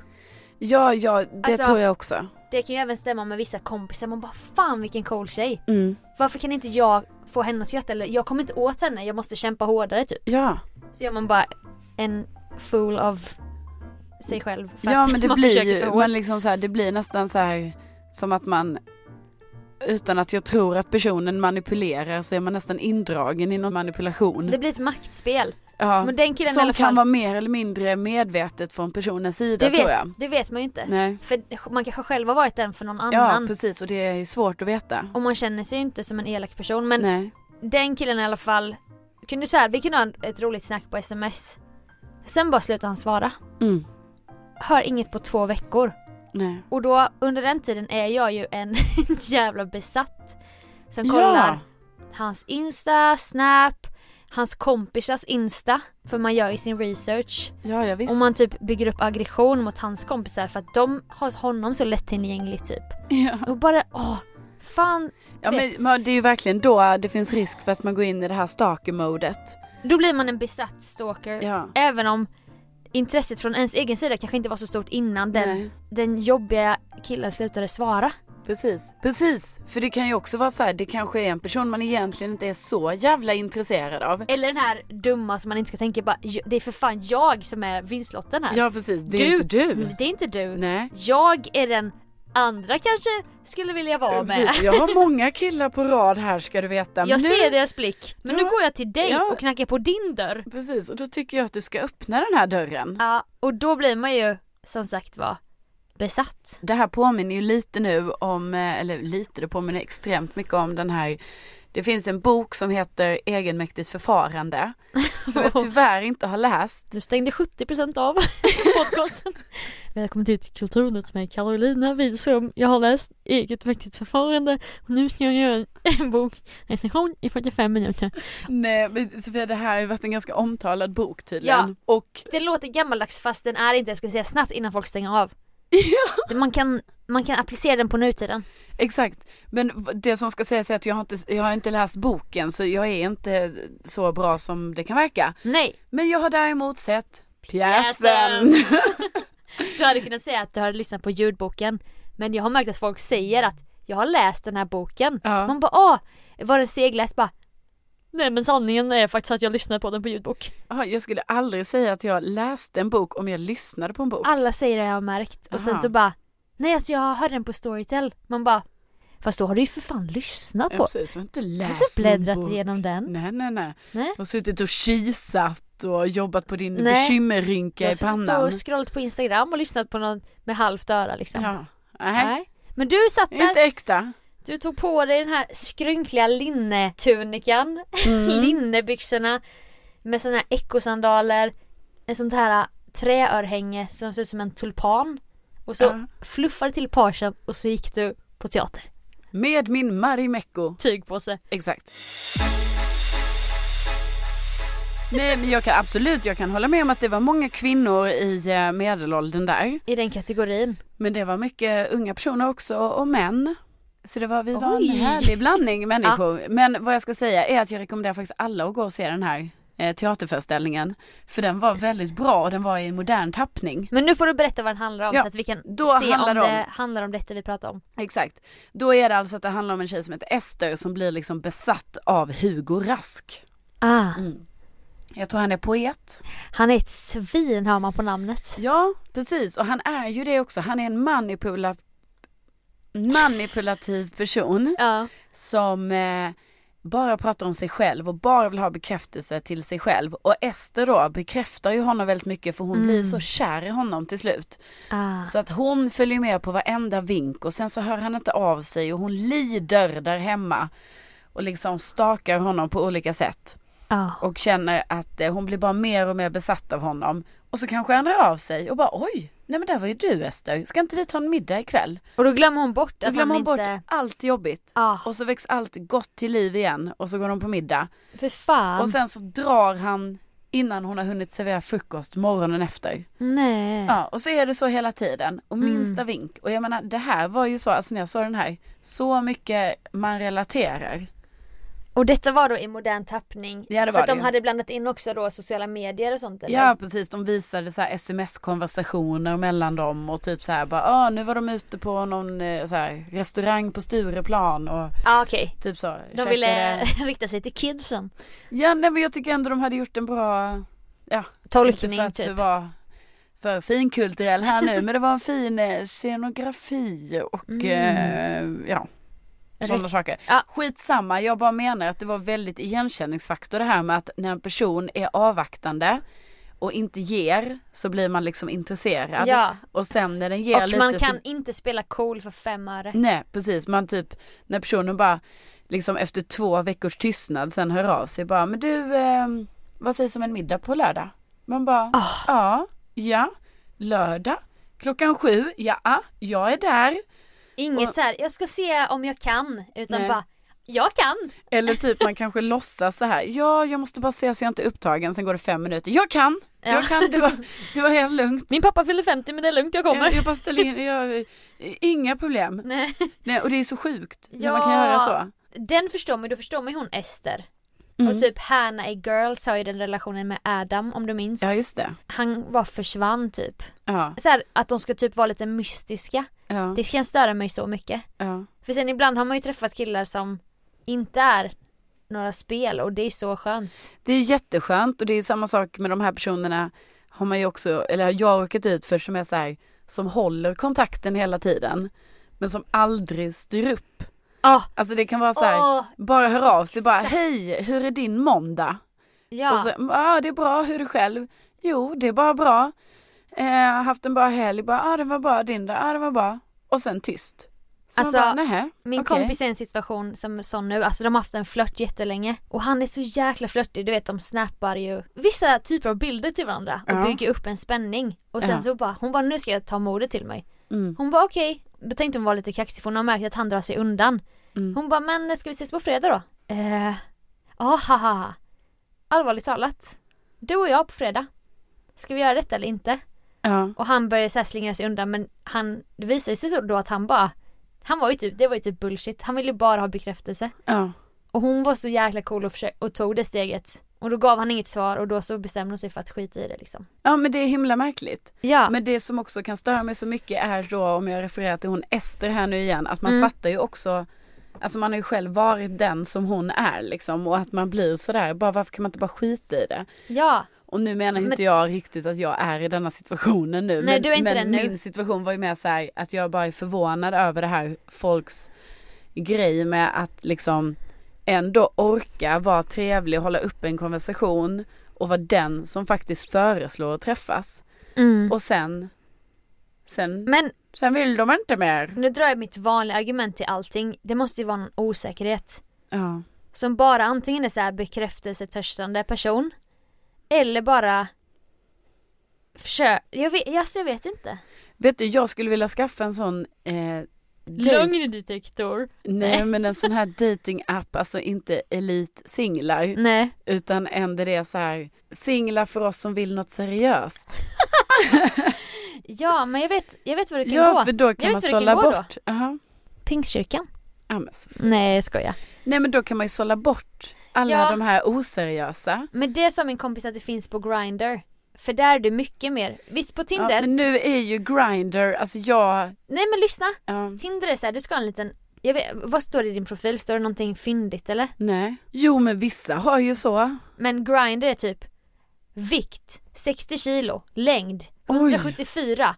Ja, ja, det
Alltså-
tror jag också.
Det kan ju även stämma med vissa kompisar, man bara fan vilken cool tjej.
Mm.
Varför kan inte jag få henne att skratta? Eller jag kommer inte åt henne, jag måste kämpa hårdare typ.
Ja,
Så gör man bara en fool av sig själv. för
ja
att
men det
man
blir
försöker
ju,
få
men liksom så här, det blir nästan så här som att man utan att jag tror att personen manipulerar så är man nästan indragen i någon manipulation.
Det blir ett maktspel.
ja.
Men den killen i
som
alla
kan
fall,
vara mer eller mindre medvetet från personens sida
det,
tror
vet,
jag.
det vet man ju inte.
Nej.
För man kanske själv har varit den för någon
Ja
annan.
precis och det är ju svårt att veta.
och man känner sig ju inte som en elak person. Men
Nej.
den killen i alla fall kunde så här, vi kunde ha ett roligt snack på sms. Sen bara slutade han svara.
Mm.
Hör inget på två veckor.
Nej.
Och då under den tiden är jag ju en jävla besatt. Som kollar
Ja.
hans insta, snap, hans kompisars insta. För man gör ju sin research.
Ja, ja visst.
Och man typ bygger upp aggression mot hans kompisar för att de har honom så lättillgänglig typ.
Ja.
Och bara åh, fan.
Ja, men, men det är ju verkligen då det finns risk för att man går in i det här stalker-modet.
Då blir man en besatt stalker.
Ja.
Även om intresset från ens egen sida kanske inte var så stort innan den,
Nej.
den jobbiga killen slutade svara.
Precis. Precis. För det kan ju också vara så här, det kanske är en person man egentligen inte är så jävla intresserad av.
Eller den här dumma som man inte ska tänka bara, "J- det är för fan jag som är vinstlotten här.
Ja, precis. Det
Du- Mm.
är inte du.
Men Det är inte du.
Nej.
Jag är den andra kanske skulle vilja vara med.
Precis. Jag har många killar på rad här ska du veta.
Jag
nu...
ser deras blick. Men nu
Ja.
går jag till dig
Ja.
och knackar på din dörr.
Precis, och då tycker jag att du ska öppna den här dörren.
Ja, och då blir man ju som sagt var besatt.
Det här påminner ju lite nu om, eh, eller lite, det påminner extremt mycket om den här det finns en bok som heter Egenmäktigt förfarande som jag tyvärr inte har läst.
Du stängde 70% av podcasten.
Välkommen till Kulturnytt med Carolina Widström. Jag har läst Eget mäktigt förfarande och nu ska jag göra en bokrecension i 45 minuter.
Nej men Sofia det här har ju varit en ganska omtalad bok tydligen. Och
Det låter gammaldags fast den är inte, jag skulle säga snabbt innan folk stänger av. Man kan, man kan applicera den på nutiden.
exakt. Men v- det som ska sägas är att jag har, inte, jag har inte läst boken så jag är inte så bra som det kan verka.
Nej!
Men jag har däremot sett
Pjäsen.
pjäsen.
Du hade kunnat säga att du hade lyssnat på ljudboken. Men jag har märkt att folk säger att jag har läst den här boken.
ja.
Man bara åh, var den segläst? Bara,
Nej men sanningen är faktiskt att jag lyssnade på den på ljudbok.
Ja, Jag skulle aldrig säga att jag läste en bok om jag lyssnade på en bok.
alla säger det jag har märkt. Och sen
Aha.
så bara, nej alltså jag hörde den på Storytel. Man bara, fast då har du ju för fan lyssnat
Ja,
på
precis, du har inte
Du har
läst
inte bläddrat
någon bok.
igenom den.
Nej, nej, nej.
Nej.
Du har suttit och kisat och jobbat på din
Nej. Jag
bekymmerrynka
har
i
suttit
pannan.
och scrollat på Instagram och lyssnat på någon med halvt öra liksom.
Ja. Nej,
Nej. Men du satt där,
inte äkta.
du tog på dig den här skrynkliga linnetunikan,
Mm.
linnebyxorna med såna här ekosandaler, en sånt här ä, träörhänge som ser ut som en tulpan. Och så
Ja.
fluffade till pagen och så gick du på teater.
Med min Marimekko.
Tygpåse.
Exakt. Nej men jag kan absolut, jag kan hålla med om att det var många kvinnor i eh, medelåldern där.
I den kategorin.
Men det var mycket unga personer också och män. Så det var, vi var
Oj.
en härlig blandning människor. Men vad jag ska säga är att jag rekommenderar faktiskt alla att gå och se den här eh, teaterföreställningen. För den var väldigt bra och den var i en modern tappning.
Men nu får du berätta vad den handlar om
Ja,
så att vi kan
då
se om
handlar det om-
det handlar om detta vi pratar om.
Exakt. Då är det alltså att det handlar om en tjej som heter Ester som blir liksom besatt av Hugo Rask. Mm.
Ah,
Jag tror han är poet.
han är ett svin hör man på namnet.
Ja, precis. Och han är ju det också. Han är en manipula manipulativ person
Ja.
som eh, bara pratar om sig själv och bara vill ha bekräftelse till sig själv. Och Ester då bekräftar ju honom väldigt mycket för hon blir så kär i honom till slut.
Mm. Ah.
Så att hon följer med på varenda vink och sen så hör han inte av sig och hon lider där hemma och liksom stakar honom på olika sätt.
Ja.
och känner att eh, hon blir bara mer och mer besatt av honom. Och så kanske han hör av sig och bara oj, nej men där var ju du Ester, ska inte vi ta en middag ikväll?
Och då glömmer hon bort
Då
att
glömmer
han
hon bort
inte...
allt jobbigt.
Ah,
Och så väcks allt gott till liv igen och så går de på middag.
för fan.
Och sen så drar han innan hon har hunnit servera frukost morgonen efter.
Nej.
Ja, och så är det så hela tiden. Och
Mm.
minsta vink. Och jag menar det här var ju så, alltså när jag såg den här, så mycket man relaterar.
Och detta var då i modern tappning.
Ja, det
för
var
att
det
de
ju.
hade blandat in också då sociala medier och sånt eller?
Ja precis, de visade så här sms-konversationer mellan dem och typ så här bara, ah, nu var de ute på någon eh, så här, restaurang på Stureplan och
Ah, okej.
typ så.
De
käkade-
ville
eh,
rikta sig till kidsen.
Ja nej men jag tycker ändå de hade gjort en bra, inte för
Tolkning
att
typ.
vara för finkulturell här nu, men det var en fin eh, scenografi och eh, ja. Sådana saker.
Mm. Ja.
Skitsamma, jag bara menar att det var väldigt igenkänningsfaktor det här med att när en person är avvaktande och inte ger så blir man liksom intresserad.
Ja.
Och sen när den ger
Och
lite
man kan
så...
inte spela cool för fem öre.
Nej precis, man typ när personen bara liksom efter två veckors tystnad sen hör av sig bara men du eh, vad sägs om en middag på lördag? Man bara
Ah.
ja, ja, lördag, klockan sju, ja, ah, jag är där.
Inget
Och-
så här, jag ska se om jag kan. Utan
Nej.
bara, jag kan.
Eller typ man kanske låtsas så här, ja jag måste bara se så jag inte är upptagen, sen går det fem minuter, jag kan,
Ja.
jag kan, det var, det var helt lugnt.
Min pappa fyller 50 men det är lugnt, jag kommer.
Jag, jag bara ställer in, jag, inga problem.
Nej.
Nej, och det är så sjukt när man
Ja.
kan göra så.
Den förstår man, då förstår man ju hon Ester.
Mm.
Och typ Hanna i Girls har ju den relationen med Adam om du minns.
Mm. Ja just det.
Han var försvann typ.
Ja,
Så här, att de ska typ vara lite mystiska.
ja,
Det kan störa mig så mycket.
ja.
För sen ibland har man ju träffat killar som inte är några spel och det är så skönt.
Det är jätteskönt och det är samma sak med de här personerna har man ju också, eller har jag råkat ut för som är så här, som håller kontakten hela tiden men som aldrig styr upp.
Ah,
Alltså det kan vara så här,
Åh,
bara hör av sig bara
exakt.
hej, hur är din måndag?
ja.
Och så, ja ah, det är bra, hur är det själv? Jo, det är bara bra. Eh, haft en bra helg, bara, ah, det var bra, din då, ah, det var bra. Och sen tyst. Så
Alltså,
man bara, nähä,
Min
okej.
kompis är i en situation som är sån nu, alltså de har haft en flört jättelänge och han är så jäkla flörtig, du vet de snappar ju vissa typer av bilder till varandra och
Ja.
bygger upp en spänning och sen
Ja.
så bara, hon bara nu ska jag ta modet till mig.
Mm.
Hon bara okej, då tänkte hon vara lite kaxig för hon har märkt att han drar sig undan.
Mm.
Hon bara men ska vi ses på fredag då? Eh, ah haha. Allvarligt talat, du och jag på fredag. Ska vi göra detta eller inte?
Ja,
Och han började så här slingra sig undan men han, det visade sig så då att han bara Han var ju typ, det var ju typ bullshit, han ville ju bara ha bekräftelse.
ja.
Och hon var så jäkla cool och, försö- och tog det steget. Och då gav han inget svar och då så bestämde hon sig för att skita i det liksom.
ja, men det är himla märkligt.
Ja,
Men det som också kan störa mig så mycket är då om jag refererar till hon Ester här nu igen att man
Mm.
fattar ju också Alltså man har ju själv varit den som hon är liksom och att man blir sådär bara varför kan man inte bara skita i det?
ja,
Och nu menar inte jag riktigt att jag är i denna situationen nu.
Nej,
men
du är inte den
men
nu.
min situation var ju mer såhär att jag bara är förvånad över det här folks grej med att liksom ändå orka vara trevlig och hålla upp en konversation och vara den som faktiskt föreslår att träffas.
mm.
Och sen, sen,
Men
sen vill de inte mer.
nu drar jag mitt vanliga argument till allting. Det måste ju vara någon osäkerhet.
Ja.
Som bara antingen är så här bekräftelsetörstande person. Eller bara Försök, jag vet, alltså jag vet inte.
Vet du, jag skulle vilja skaffa en sån eh, dejt-
Lugn detektor.
Nej men en sån här dating-app, alltså inte elitsinglar
Nej.
utan ändå det är så här singlar för oss som vill något seriöst.
Ja men jag vet, jag vet vad du kan
Ja
gå.
för då
Jag
kan man
vet hur det
sålla
kan gå då.
bort. Jaha.
Pingstkyrkan?
Ja, men så-
Nej skoja.
Nej men då kan man ju sålla bort alla
Ja.
de här oseriösa.
Men det sa min kompis att det finns på Grindr. För där är det mycket mer. Visst på
Ja,
Tinder.
men nu är ju Grindr, alltså jag,
Nej men lyssna.
ja.
Tinder är såhär, du ska ha en liten jag vet, vad står det i din profil? Står det någonting fyndigt eller?
nej. Jo men vissa har ju så.
Men Grindr är typ Vikt 60 kilo Längd 174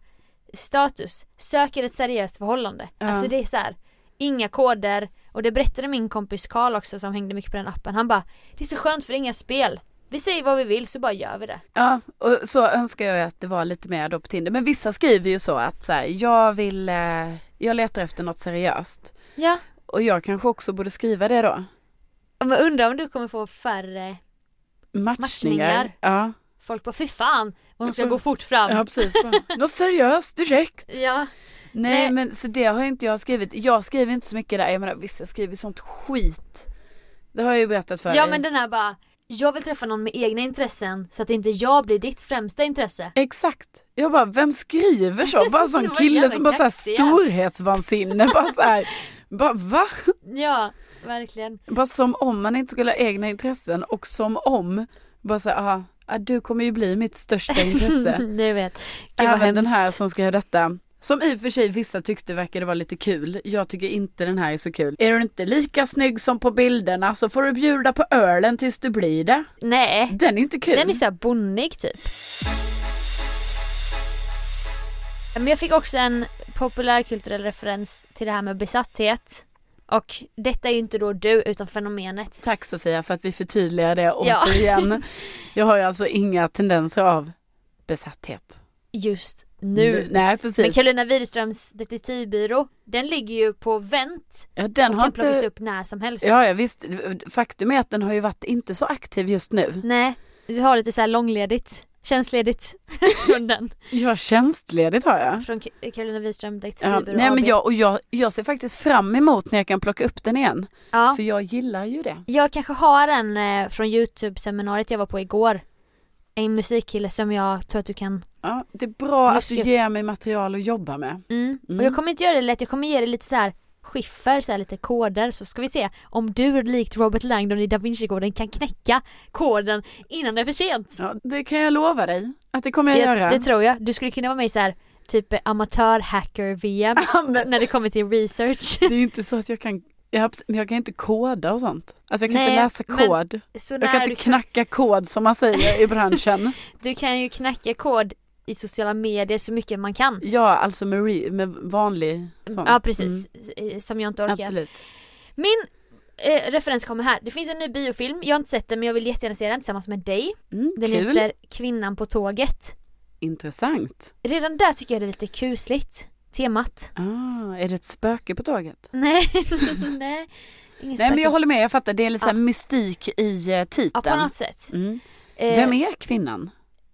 Status Söker ett seriöst förhållande.
Ja.
Alltså det är så här. Inga koder och det berättade min kompis Karl också som hängde mycket på den appen. Han bara Det är så skönt för det är inga spel. Vi säger vad vi vill så bara gör vi det.
Ja, och så önskar jag att det var lite mer då på Tinder. Men vissa skriver ju så att så här, jag vill, eh, jag letar efter något seriöst.
Ja.
Och jag kanske också borde skriva det då.
Men undrar om du kommer få färre
matchningar.
Matchningar.
Ja.
Folk bara fy fan, hon ska
Mm.
gå fort fram.
ja, precis. Bara, Något seriöst direkt.
Ja.
Nej,
Nej.
men så det har ju inte jag skrivit. Jag skriver inte så mycket där. Jag menar visst jag skriver sånt skit. Det har jag ju berättat för
ja
dig.
men den här bara, jag vill träffa någon med egna intressen så att inte jag blir ditt främsta intresse.
Exakt. Jag bara, vem skriver så? Bara en
Det
sån
var
kille
jävla
som bara såhär
kaxiga.
storhetsvansinne. bara såhär, bara va?
Ja, verkligen.
Bara som om man inte skulle ha egna intressen och som om, bara såhär, aha, ja, ah, du kommer ju bli mitt största intresse.
Du vet. Gud, vad
Även den
hemskt.
här som skrev detta. Som i och för sig vissa tyckte verkade vara lite kul. Jag tycker inte den här är så kul. Är du inte lika snygg som på bilderna så får du bjuda på ölen tills du blir det.
Nej,
Den är inte kul.
den är såhär bonnig typ. Men jag fick också en populärkulturell referens till det här med besatthet. Och detta är ju inte då du utan fenomenet.
Tack Sofia för att vi förtydligar det
Ja.
återigen. Jag har ju alltså inga tendenser av besatthet.
Just nu.
Nej
Men
precis.
Karolina Widerströms detektivbyrå, den ligger ju på vänt
Ja, den
och
har
kan plockas
inte...
upp när som helst.
Ja, ja visst. Faktum är att den har ju varit inte så aktiv just nu.
Nej, du har lite så här långledigt, tjänstledigt från den.
Ja, tjänstledigt har jag.
Från K- Carolina Wiström,
Ja,
Detektivbyrå
nej
AB.
men jag, och jag, jag ser faktiskt fram emot när jag kan plocka upp den igen.
ja.
För jag gillar ju det.
jag kanske har en eh, från Youtube-seminariet jag var på igår. En musikkille som jag tror att du kan...
Ja, det är bra att du
Mycket.
ger mig material att jobba med.
Mm.
Mm.
Och jag kommer inte göra det lätt, jag kommer ge dig lite så här skiffer, så här lite koder så ska vi se om du likt Robert Langdon i Da Vinci-koden kan knäcka koden innan det är för sent.
Ja, det kan jag lova dig att det kommer jag
Det,
göra.
det tror jag. Du skulle kunna vara med i så här typ eh, amatör-hacker-VM
Ja, men-
när det kommer till research.
Det är ju inte så att jag kan, jag, har- men jag kan inte koda och sånt. Alltså jag kan
Nej,
inte läsa
men
kod.
Så
jag kan
när
inte
du,
knacka kod som man säger i branschen.
du kan ju knäcka kod i sociala medier så mycket man kan.
ja, alltså med, re, med vanlig sån.
Ja precis,
Mm,
Eh, som jag inte orkar.
absolut.
Min eh, referens kommer här. Det finns en ny biofilm, jag har inte sett den men jag vill jättegärna se den tillsammans med dig.
Mm,
Den
kul,
heter Kvinnan på tåget.
intressant.
Redan där tycker jag det är lite kusligt, temat.
Ah, är det ett spöke på tåget?
Nej, nej. Ingen
Nej men jag
spöke.
håller med, jag fattar. Det är lite så här mystik i eh,
Ja,
titeln.
på något sätt.
mm.
Eh,
Vem är kvinnan?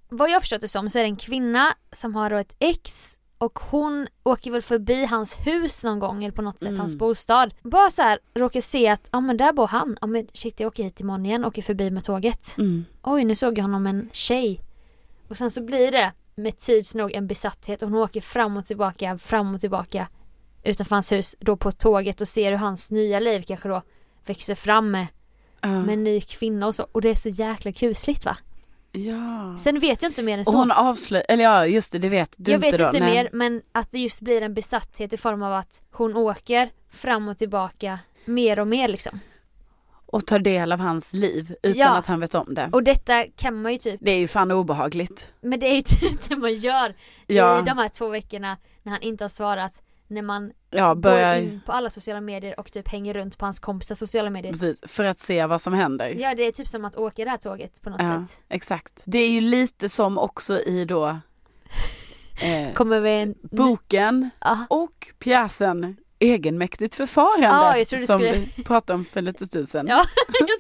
vad jag förstått det som så är det en kvinna som har då ett ex och hon åker väl förbi hans hus någon gång eller på något sätt
Mm.
hans bostad. Bara så här råkar se att ja men där bor han. Ja men shit jag åker hit imorgon igen, åker förbi med tåget.
Mm.
Oj nu såg jag honom med en tjej. Och sen så blir det med tids nog en besatthet och hon åker fram och tillbaka, fram och tillbaka utanför hans hus då på tåget och ser hur hans nya liv kanske då växer fram med,
Ja.
med en ny kvinna och så. Och det är så jäkla kusligt va.
ja.
Sen vet jag inte mer än så.
Och hon avslöjar, eller ja just det, det vet du
jag vet
inte då.
inte
Nej.
mer men att det just blir en besatthet i form av att hon åker fram och tillbaka mer och mer liksom.
Och tar del av hans liv utan
Ja.
att han vet om det.
Och detta kan man ju typ,
Det är ju fan obehagligt.
men det är ju typ det man gör i
Ja,
de här två veckorna när han inte har svarat. När man
ja börjar...
går in på alla sociala medier och typ hänger runt på hans kompisars sociala medier.
Precis, för att se vad som händer.
Ja det är typ som att åka det här tåget på något
Mm. Ja,
sätt.
exakt. Det är ju lite som också i då eh,
Kommer vi en...
boken
Ja.
och pjäsen Egenmäktigt förfarande
Ja, jag trodde du
som
skulle-
vi pratade om för lite stund sedan.
Ja.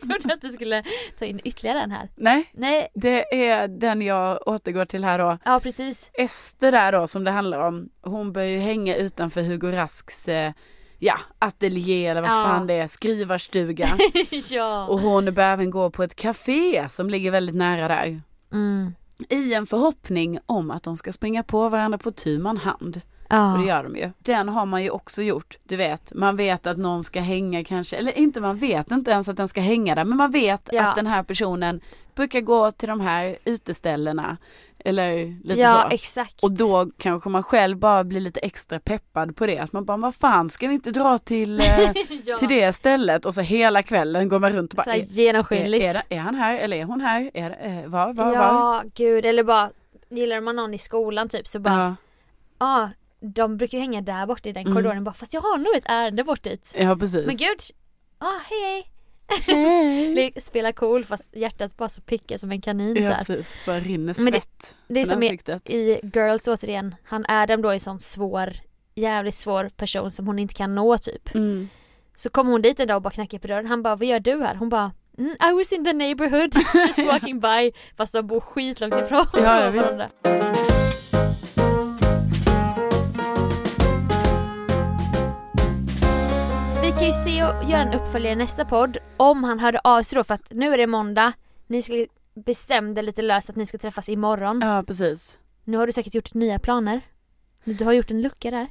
Jag trodde att du skulle ta in ytterligare en här.
Nej,
Nej,
det är den jag återgår till här då.
ja precis.
Ester där då som det handlar om, hon börjar ju hänga utanför Hugo Rasks eh, ja, ateljé eller vad
Ja.
fan det är, skrivarstuga.
ja.
och hon börjar även gå på ett café som ligger väldigt nära där.
Mm.
I en förhoppning om att de ska springa på varandra på tu man hand. Och det
Ja.
gör de ju. Den har man ju också gjort. Du vet, man vet att någon ska hänga kanske, eller inte man vet inte ens att den ska hänga där. Men man vet
Ja.
att den här personen brukar gå till de här uteställena. Eller lite
Ja
så.
exakt.
Och då kanske man själv bara blir lite extra peppad på det. Att man bara, vad fan ska vi inte dra till, eh,
ja.
till det stället? Och så hela kvällen går man runt och bara,
så här
är, är,
genomskinligt.
är, det- är han här eller är hon här? Är, det- eh, var, var, var?
ja, gud. Eller bara, gillar man någon i skolan typ så bara, ja,
Ja,
ah, de brukar ju hänga där borta i den
Mm.
korridoren bara, fast jag har nog ett ärende bort dit.
ja precis.
Men gud, ah hej
Hej.
hej. Le- Spela cool fast hjärtat bara så pickar som en kanin så
Ja
här.
precis, bara rinner
Men det-
svett
Det är
från
som i,
ansiktet.
i Girls återigen, han Adam då är en sån svår, jävligt svår person som hon inte kan nå typ.
Mm.
Så kommer hon dit en dag och bara knackar på dörren, han bara vad gör du här? Hon bara
Mm, I was in the neighborhood just walking by. Fast de bor skitlångt ifrån
Ja, ja, visst.
varandra.
Vi kan ju se och göra en uppföljare i nästa podd om han hörde av sig då för att nu är det måndag. Ni skulle bestämde lite löst att ni ska träffas imorgon.
Ja, precis.
Nu har du säkert gjort nya planer. Du har gjort en lucka där.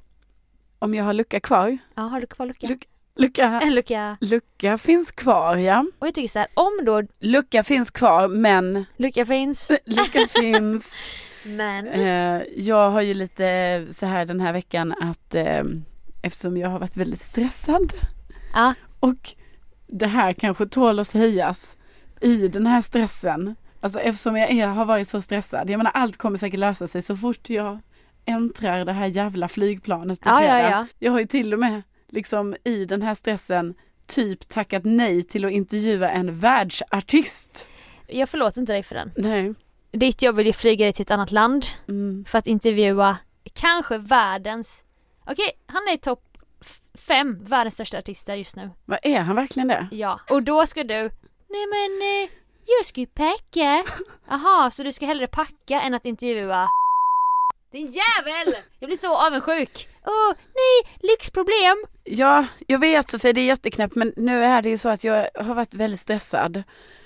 Om jag har lucka kvar.
Ja, har du kvar lucka?
Lu- Lucka,
en lucka.
lucka finns kvar, ja.
Och jag tycker så här, om då
Lucka finns kvar, men
lucka finns,
lucka finns.
men
Eh, jag har ju lite så här den här veckan att eh, eftersom jag har varit väldigt stressad
Ja.
och det här kanske tål att sägas i den här stressen. Alltså eftersom jag är, har varit så stressad. Jag menar allt kommer säkert lösa sig så fort jag äntrar det här jävla flygplanet på
ja, ja,
fredag.
ja.
Jag har ju till och med liksom i den här stressen typ tackat nej till att intervjua en världsartist.
Jag förlåter inte dig för den.
Nej.
Ditt jobb vill ju flyga dig till ett annat land
Mm.
för att intervjua kanske världens, okej, han är i topp f- fem världens största artister just nu.
Vad är han verkligen det?
Ja, och då ska du Nej men eh, jag ska ju packa Jaha, så du ska hellre packa än att intervjua Din jävel! Jag blir så avundsjuk! Åh, nej, lyxproblem!
Ja, jag vet Sofie, det är jätteknäppt men nu är det ju så att jag har varit väldigt stressad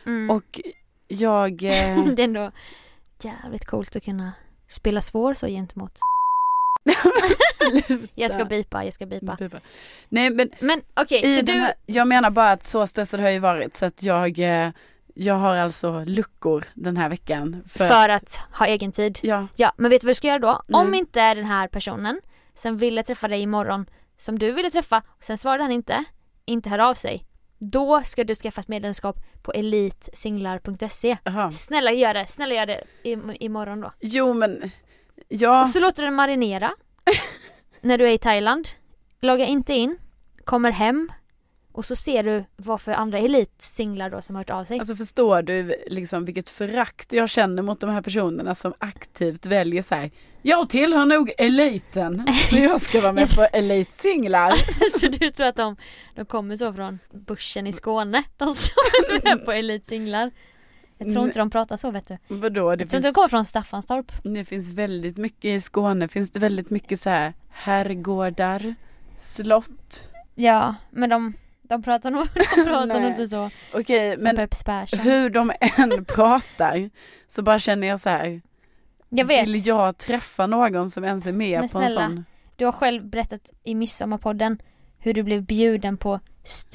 Mm.
och jag... Eh...
det är ändå jävligt coolt att kunna spela svår så gentemot Jag ska bipa, jag ska bipa
Nej men
Men okej,
Mm. i
så
den
du
här, jag menar bara att så stressad har jag ju varit så att jag, eh, jag har alltså luckor den här veckan. För,
för att ha egen tid
Ja,
Ja, men vet du vad du ska göra då?
Nej.
Om inte den här personen som ville träffa dig imorgon, som du ville träffa, och sen svarade han inte, inte hör av sig. Då ska du skaffa ett medlemskap på elitsinglar.se.
aha.
Snälla gör det, snälla gör det im- imorgon då.
Jo men, ja.
Och så låter du den marinera. när du är i Thailand. Logga inte in, kommer hem och så ser du vad för andra elitsinglar då som har hört av sig.
Alltså förstår du liksom vilket förakt jag känner mot de här personerna som aktivt väljer så här. Jag tillhör nog eliten så jag ska vara med på elitsinglar.
Så du tror att de, de kommer så från börsen
Mm.
i Skåne? De som är med på elitsinglar. Jag
Mm.
tror inte de pratar så vet du.
Vadå? Det
Jag tror
finns,
inte de kommer från Staffanstorp.
det finns väldigt mycket i Skåne finns det väldigt mycket så här herrgårdar, slott.
Ja,
Men de,
De pratar nog, de pratar nog
Nej.
inte så.
Okej
Men,
men
Peps Persson.
hur de än pratar så bara känner jag så här.
jag vet,
Vill jag träffa någon som ens är med
Men
på en
snälla.
sån?
du har själv berättat i Midsommarpodden hur du blev bjuden på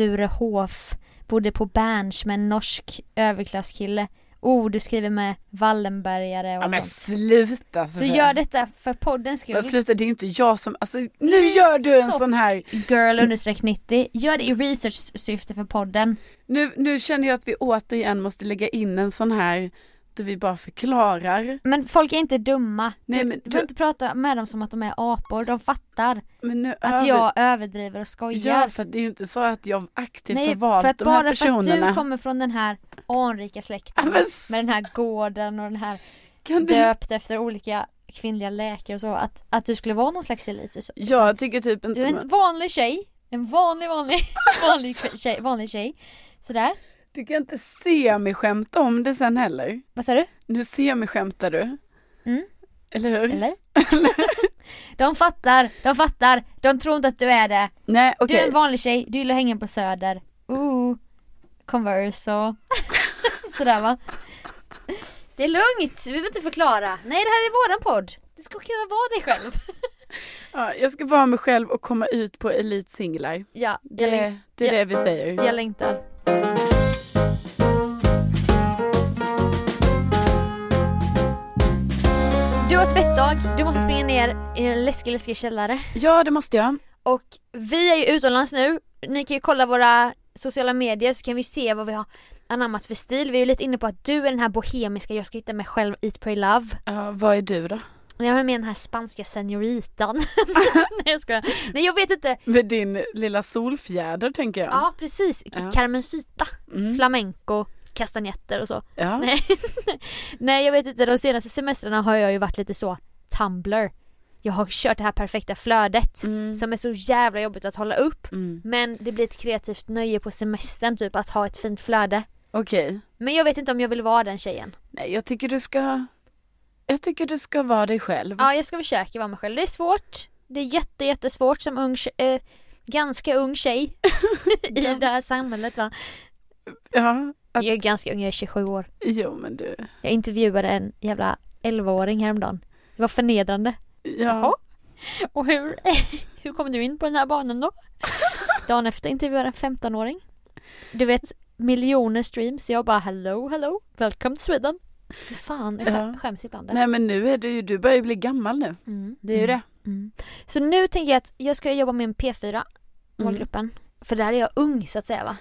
Sturehof, bodde på Berns med en norsk överklasskille. Oh, du skriver med Wallenbergare och
Ja men
sånt.
sluta
Så gör detta för poddens skull.
Men sluta det är inte jag som, alltså nu gör du en
så-
sån här
Girl understreck 90. Gör det i research-syfte för podden.
Nu, nu känner jag att vi återigen måste lägga in en sån här där vi bara förklarar.
Men folk är inte dumma. Du,
Nej,
Nej,
men
men
du-
du behöver inte prata med dem som att de är apor. De fattar
Men nu
att
över-
jag överdriver och skojar.
Ja, för att det är ju inte så att jag aktivt
Nej,
har valt
för att
de här
bara för att
personerna.
du kommer från den här anrika
Ja,
släkten
men
med den här gården och den här
kan du...
döpt efter olika kvinnliga läkare och så, att, att du skulle vara någon slags elit. och Så.
Jag tycker typ inte...
Du är en
man-
vanlig tjej, en vanlig vanlig vanlig kv- tjej, vanlig tjej. Sådär,
Du kan inte se mig skämta om det sen heller.
vad sa du?
Nu ser mig skämtar du.
Mm.
Eller hur?
Eller? de fattar, de fattar, de tror inte att du är det.
Nej
Du
okej.
är en vanlig tjej, du gillar att hänga på söder. Ooh, Converse och sådär va. Det är lugnt, vi behöver inte förklara. Nej det här är våran podd. Du ska kunna vara dig själv.
Ja, jag ska vara mig själv och komma ut på elitsinglar.
Ja,
Det,
Eh,
jag, läng-
det är det vi säger.
jag längtar.
Du har tvättdag, du måste springa ner i en läskig läskig källare.
Ja det måste jag.
Och vi är ju utomlands nu. Ni kan ju kolla våra sociala medier så kan vi se vad vi har anammat för stil. Vi är ju lite inne på att du är den här bohemiska jag ska hitta mig själv, Eat Pray Love.
Ja, vad är du då?
Men Jag har med den här spanska senoritan. Nej jag skojar. Nej jag vet inte.
Med din lilla solfjäder tänker jag.
Ja precis,
Ja.
Carmencita,
Mm.
flamenco, kastanjetter och så.
Ja.
Nej. Nej jag vet inte, de senaste semestrarna har jag ju varit lite så Tumblr. Jag har kört det här perfekta flödet
Mm.
som är så jävla jobbigt att hålla upp.
Mm.
Men det blir ett kreativt nöje på semestern typ att ha ett fint flöde.
Okej.
Men jag vet inte om jag vill vara den tjejen.
Nej, jag tycker du ska... Jag tycker du ska vara dig själv.
Ja, jag ska försöka vara mig själv. Det är svårt. Det är jätte, jättesvårt som ung tje- eh, ganska ung tjej i
Ja.
det här samhället va.
Ja. Att,
Jag är ganska ung, jag är 27 år.
jo, men du.
Jag intervjuade en jävla 11-åring häromdagen. Det var förnedrande.
Ja.
Och hur, hur kom du in på den här banan då? Dagen efter intervjuade jag en 15-åring. Du vet, miljoner streams. Jag bara hello, hello, welcome to Sweden. Fy fan, jag skä-
Ja.
skäms ibland.
Nej, men nu är du ju... Du börjar ju bli gammal nu.
Mm.
Det är ju det.
Mm. Så nu tänker jag att jag ska jobba med en P4,
Mm.
målgruppen. För där är jag ung så att säga va?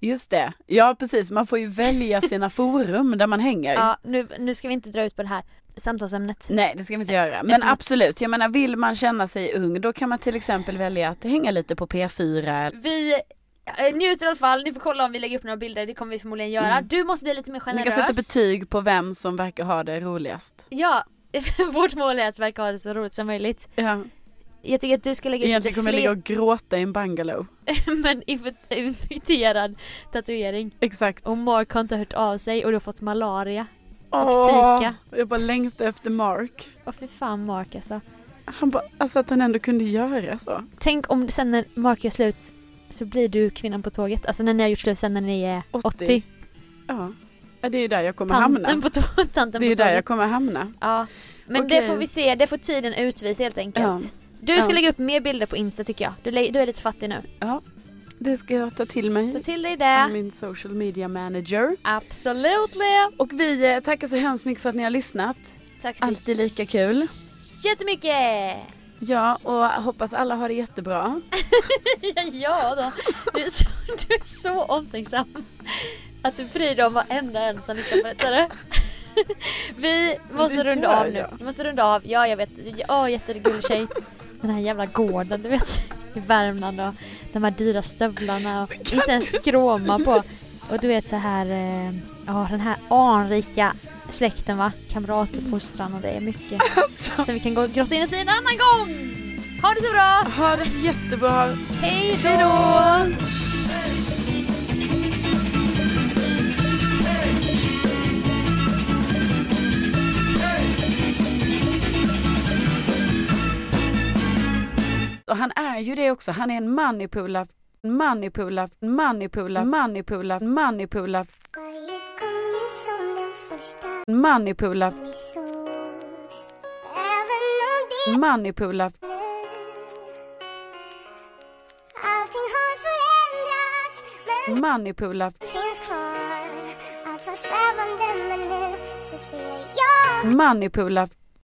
Just det. Ja, precis. Man får ju välja sina forum där man hänger.
Ja, nu, nu ska vi inte dra ut på det här samtalsämnet.
Nej, det ska vi inte göra. Men
Eftersom att-
absolut, jag menar vill man känna sig ung då kan man till exempel välja att hänga lite på P4.
Vi eh, njuter i alla fall, ni får kolla om vi lägger upp några bilder, det kommer vi förmodligen göra.
Mm.
Du måste bli lite mer
Ni
generös.
kan sätta betyg på vem som verkar ha det roligast.
Ja, vårt mål är att verka ha det så roligt som möjligt.
Ja.
Jag tycker att du ska lägga ut
Egentligen
lite
kommer jag ligga
fler,
och gråta i en bungalow.
men infekt- infekterad tatuering.
Exakt.
Och Mark har inte hört av sig och du har fått malaria.
Åh,
psyka.
jag bara längtar efter Mark.
Och för fan Mark alltså.
Han bara, alltså att han ändå kunde göra så.
Tänk om sen när Mark gör slut så blir du kvinnan på tåget. Alltså när ni har gjort slut sen när ni är 80.
80. Ja. Ja, det är ju där jag kommer
Tanten
hamna.
på, tå- tanten
Det är
på
ju där jag
tåget.
kommer hamna.
Ja. Men det
Okej.
får vi se, det får tiden utvisa helt enkelt.
Ja.
Du ska
Ja.
lägga upp mer bilder på Insta tycker jag. Du, lä- du är lite fattig nu.
Det ska jag ta till
Ta
mig.
till dig
av
det.
Min social media manager.
Absolutely.
Och vi eh, tackar så hemskt mycket för att ni har lyssnat.
Tack så
Alltid lika kul.
jättemycket.
Ja, och hoppas alla har det jättebra.
Ja, ja då. Du är, så, du är så omtänksam. Att du bryr dig om varenda en som lyssnar på detta. du. Vi måste
det
runda
gör
av nu.
jag.
Vi måste runda av. Ja, jag vet. Ja, jättegullig tjej. Den här jävla gården, du vet. I Värmland och de här dyra stövlarna och inte ens skråma på. Och du vet så här, eh, ja den här anrika släkten va. Kamratuppfostran och det är mycket.
Alltså.
Så vi kan gå grotta in oss i en annan gång. Ha det så bra.
Ha det så jättebra.
Hej då!
Och han är ju det också. Han är en manipula, manipula, manipula, manipula, manipula,
Varje gång jag som den första
manipula,
vi sågs Även om det
manipula.
nu Allting har förändrats men
Manipula,
finns kvar Allt var svävande men nu så ser jag
manipula.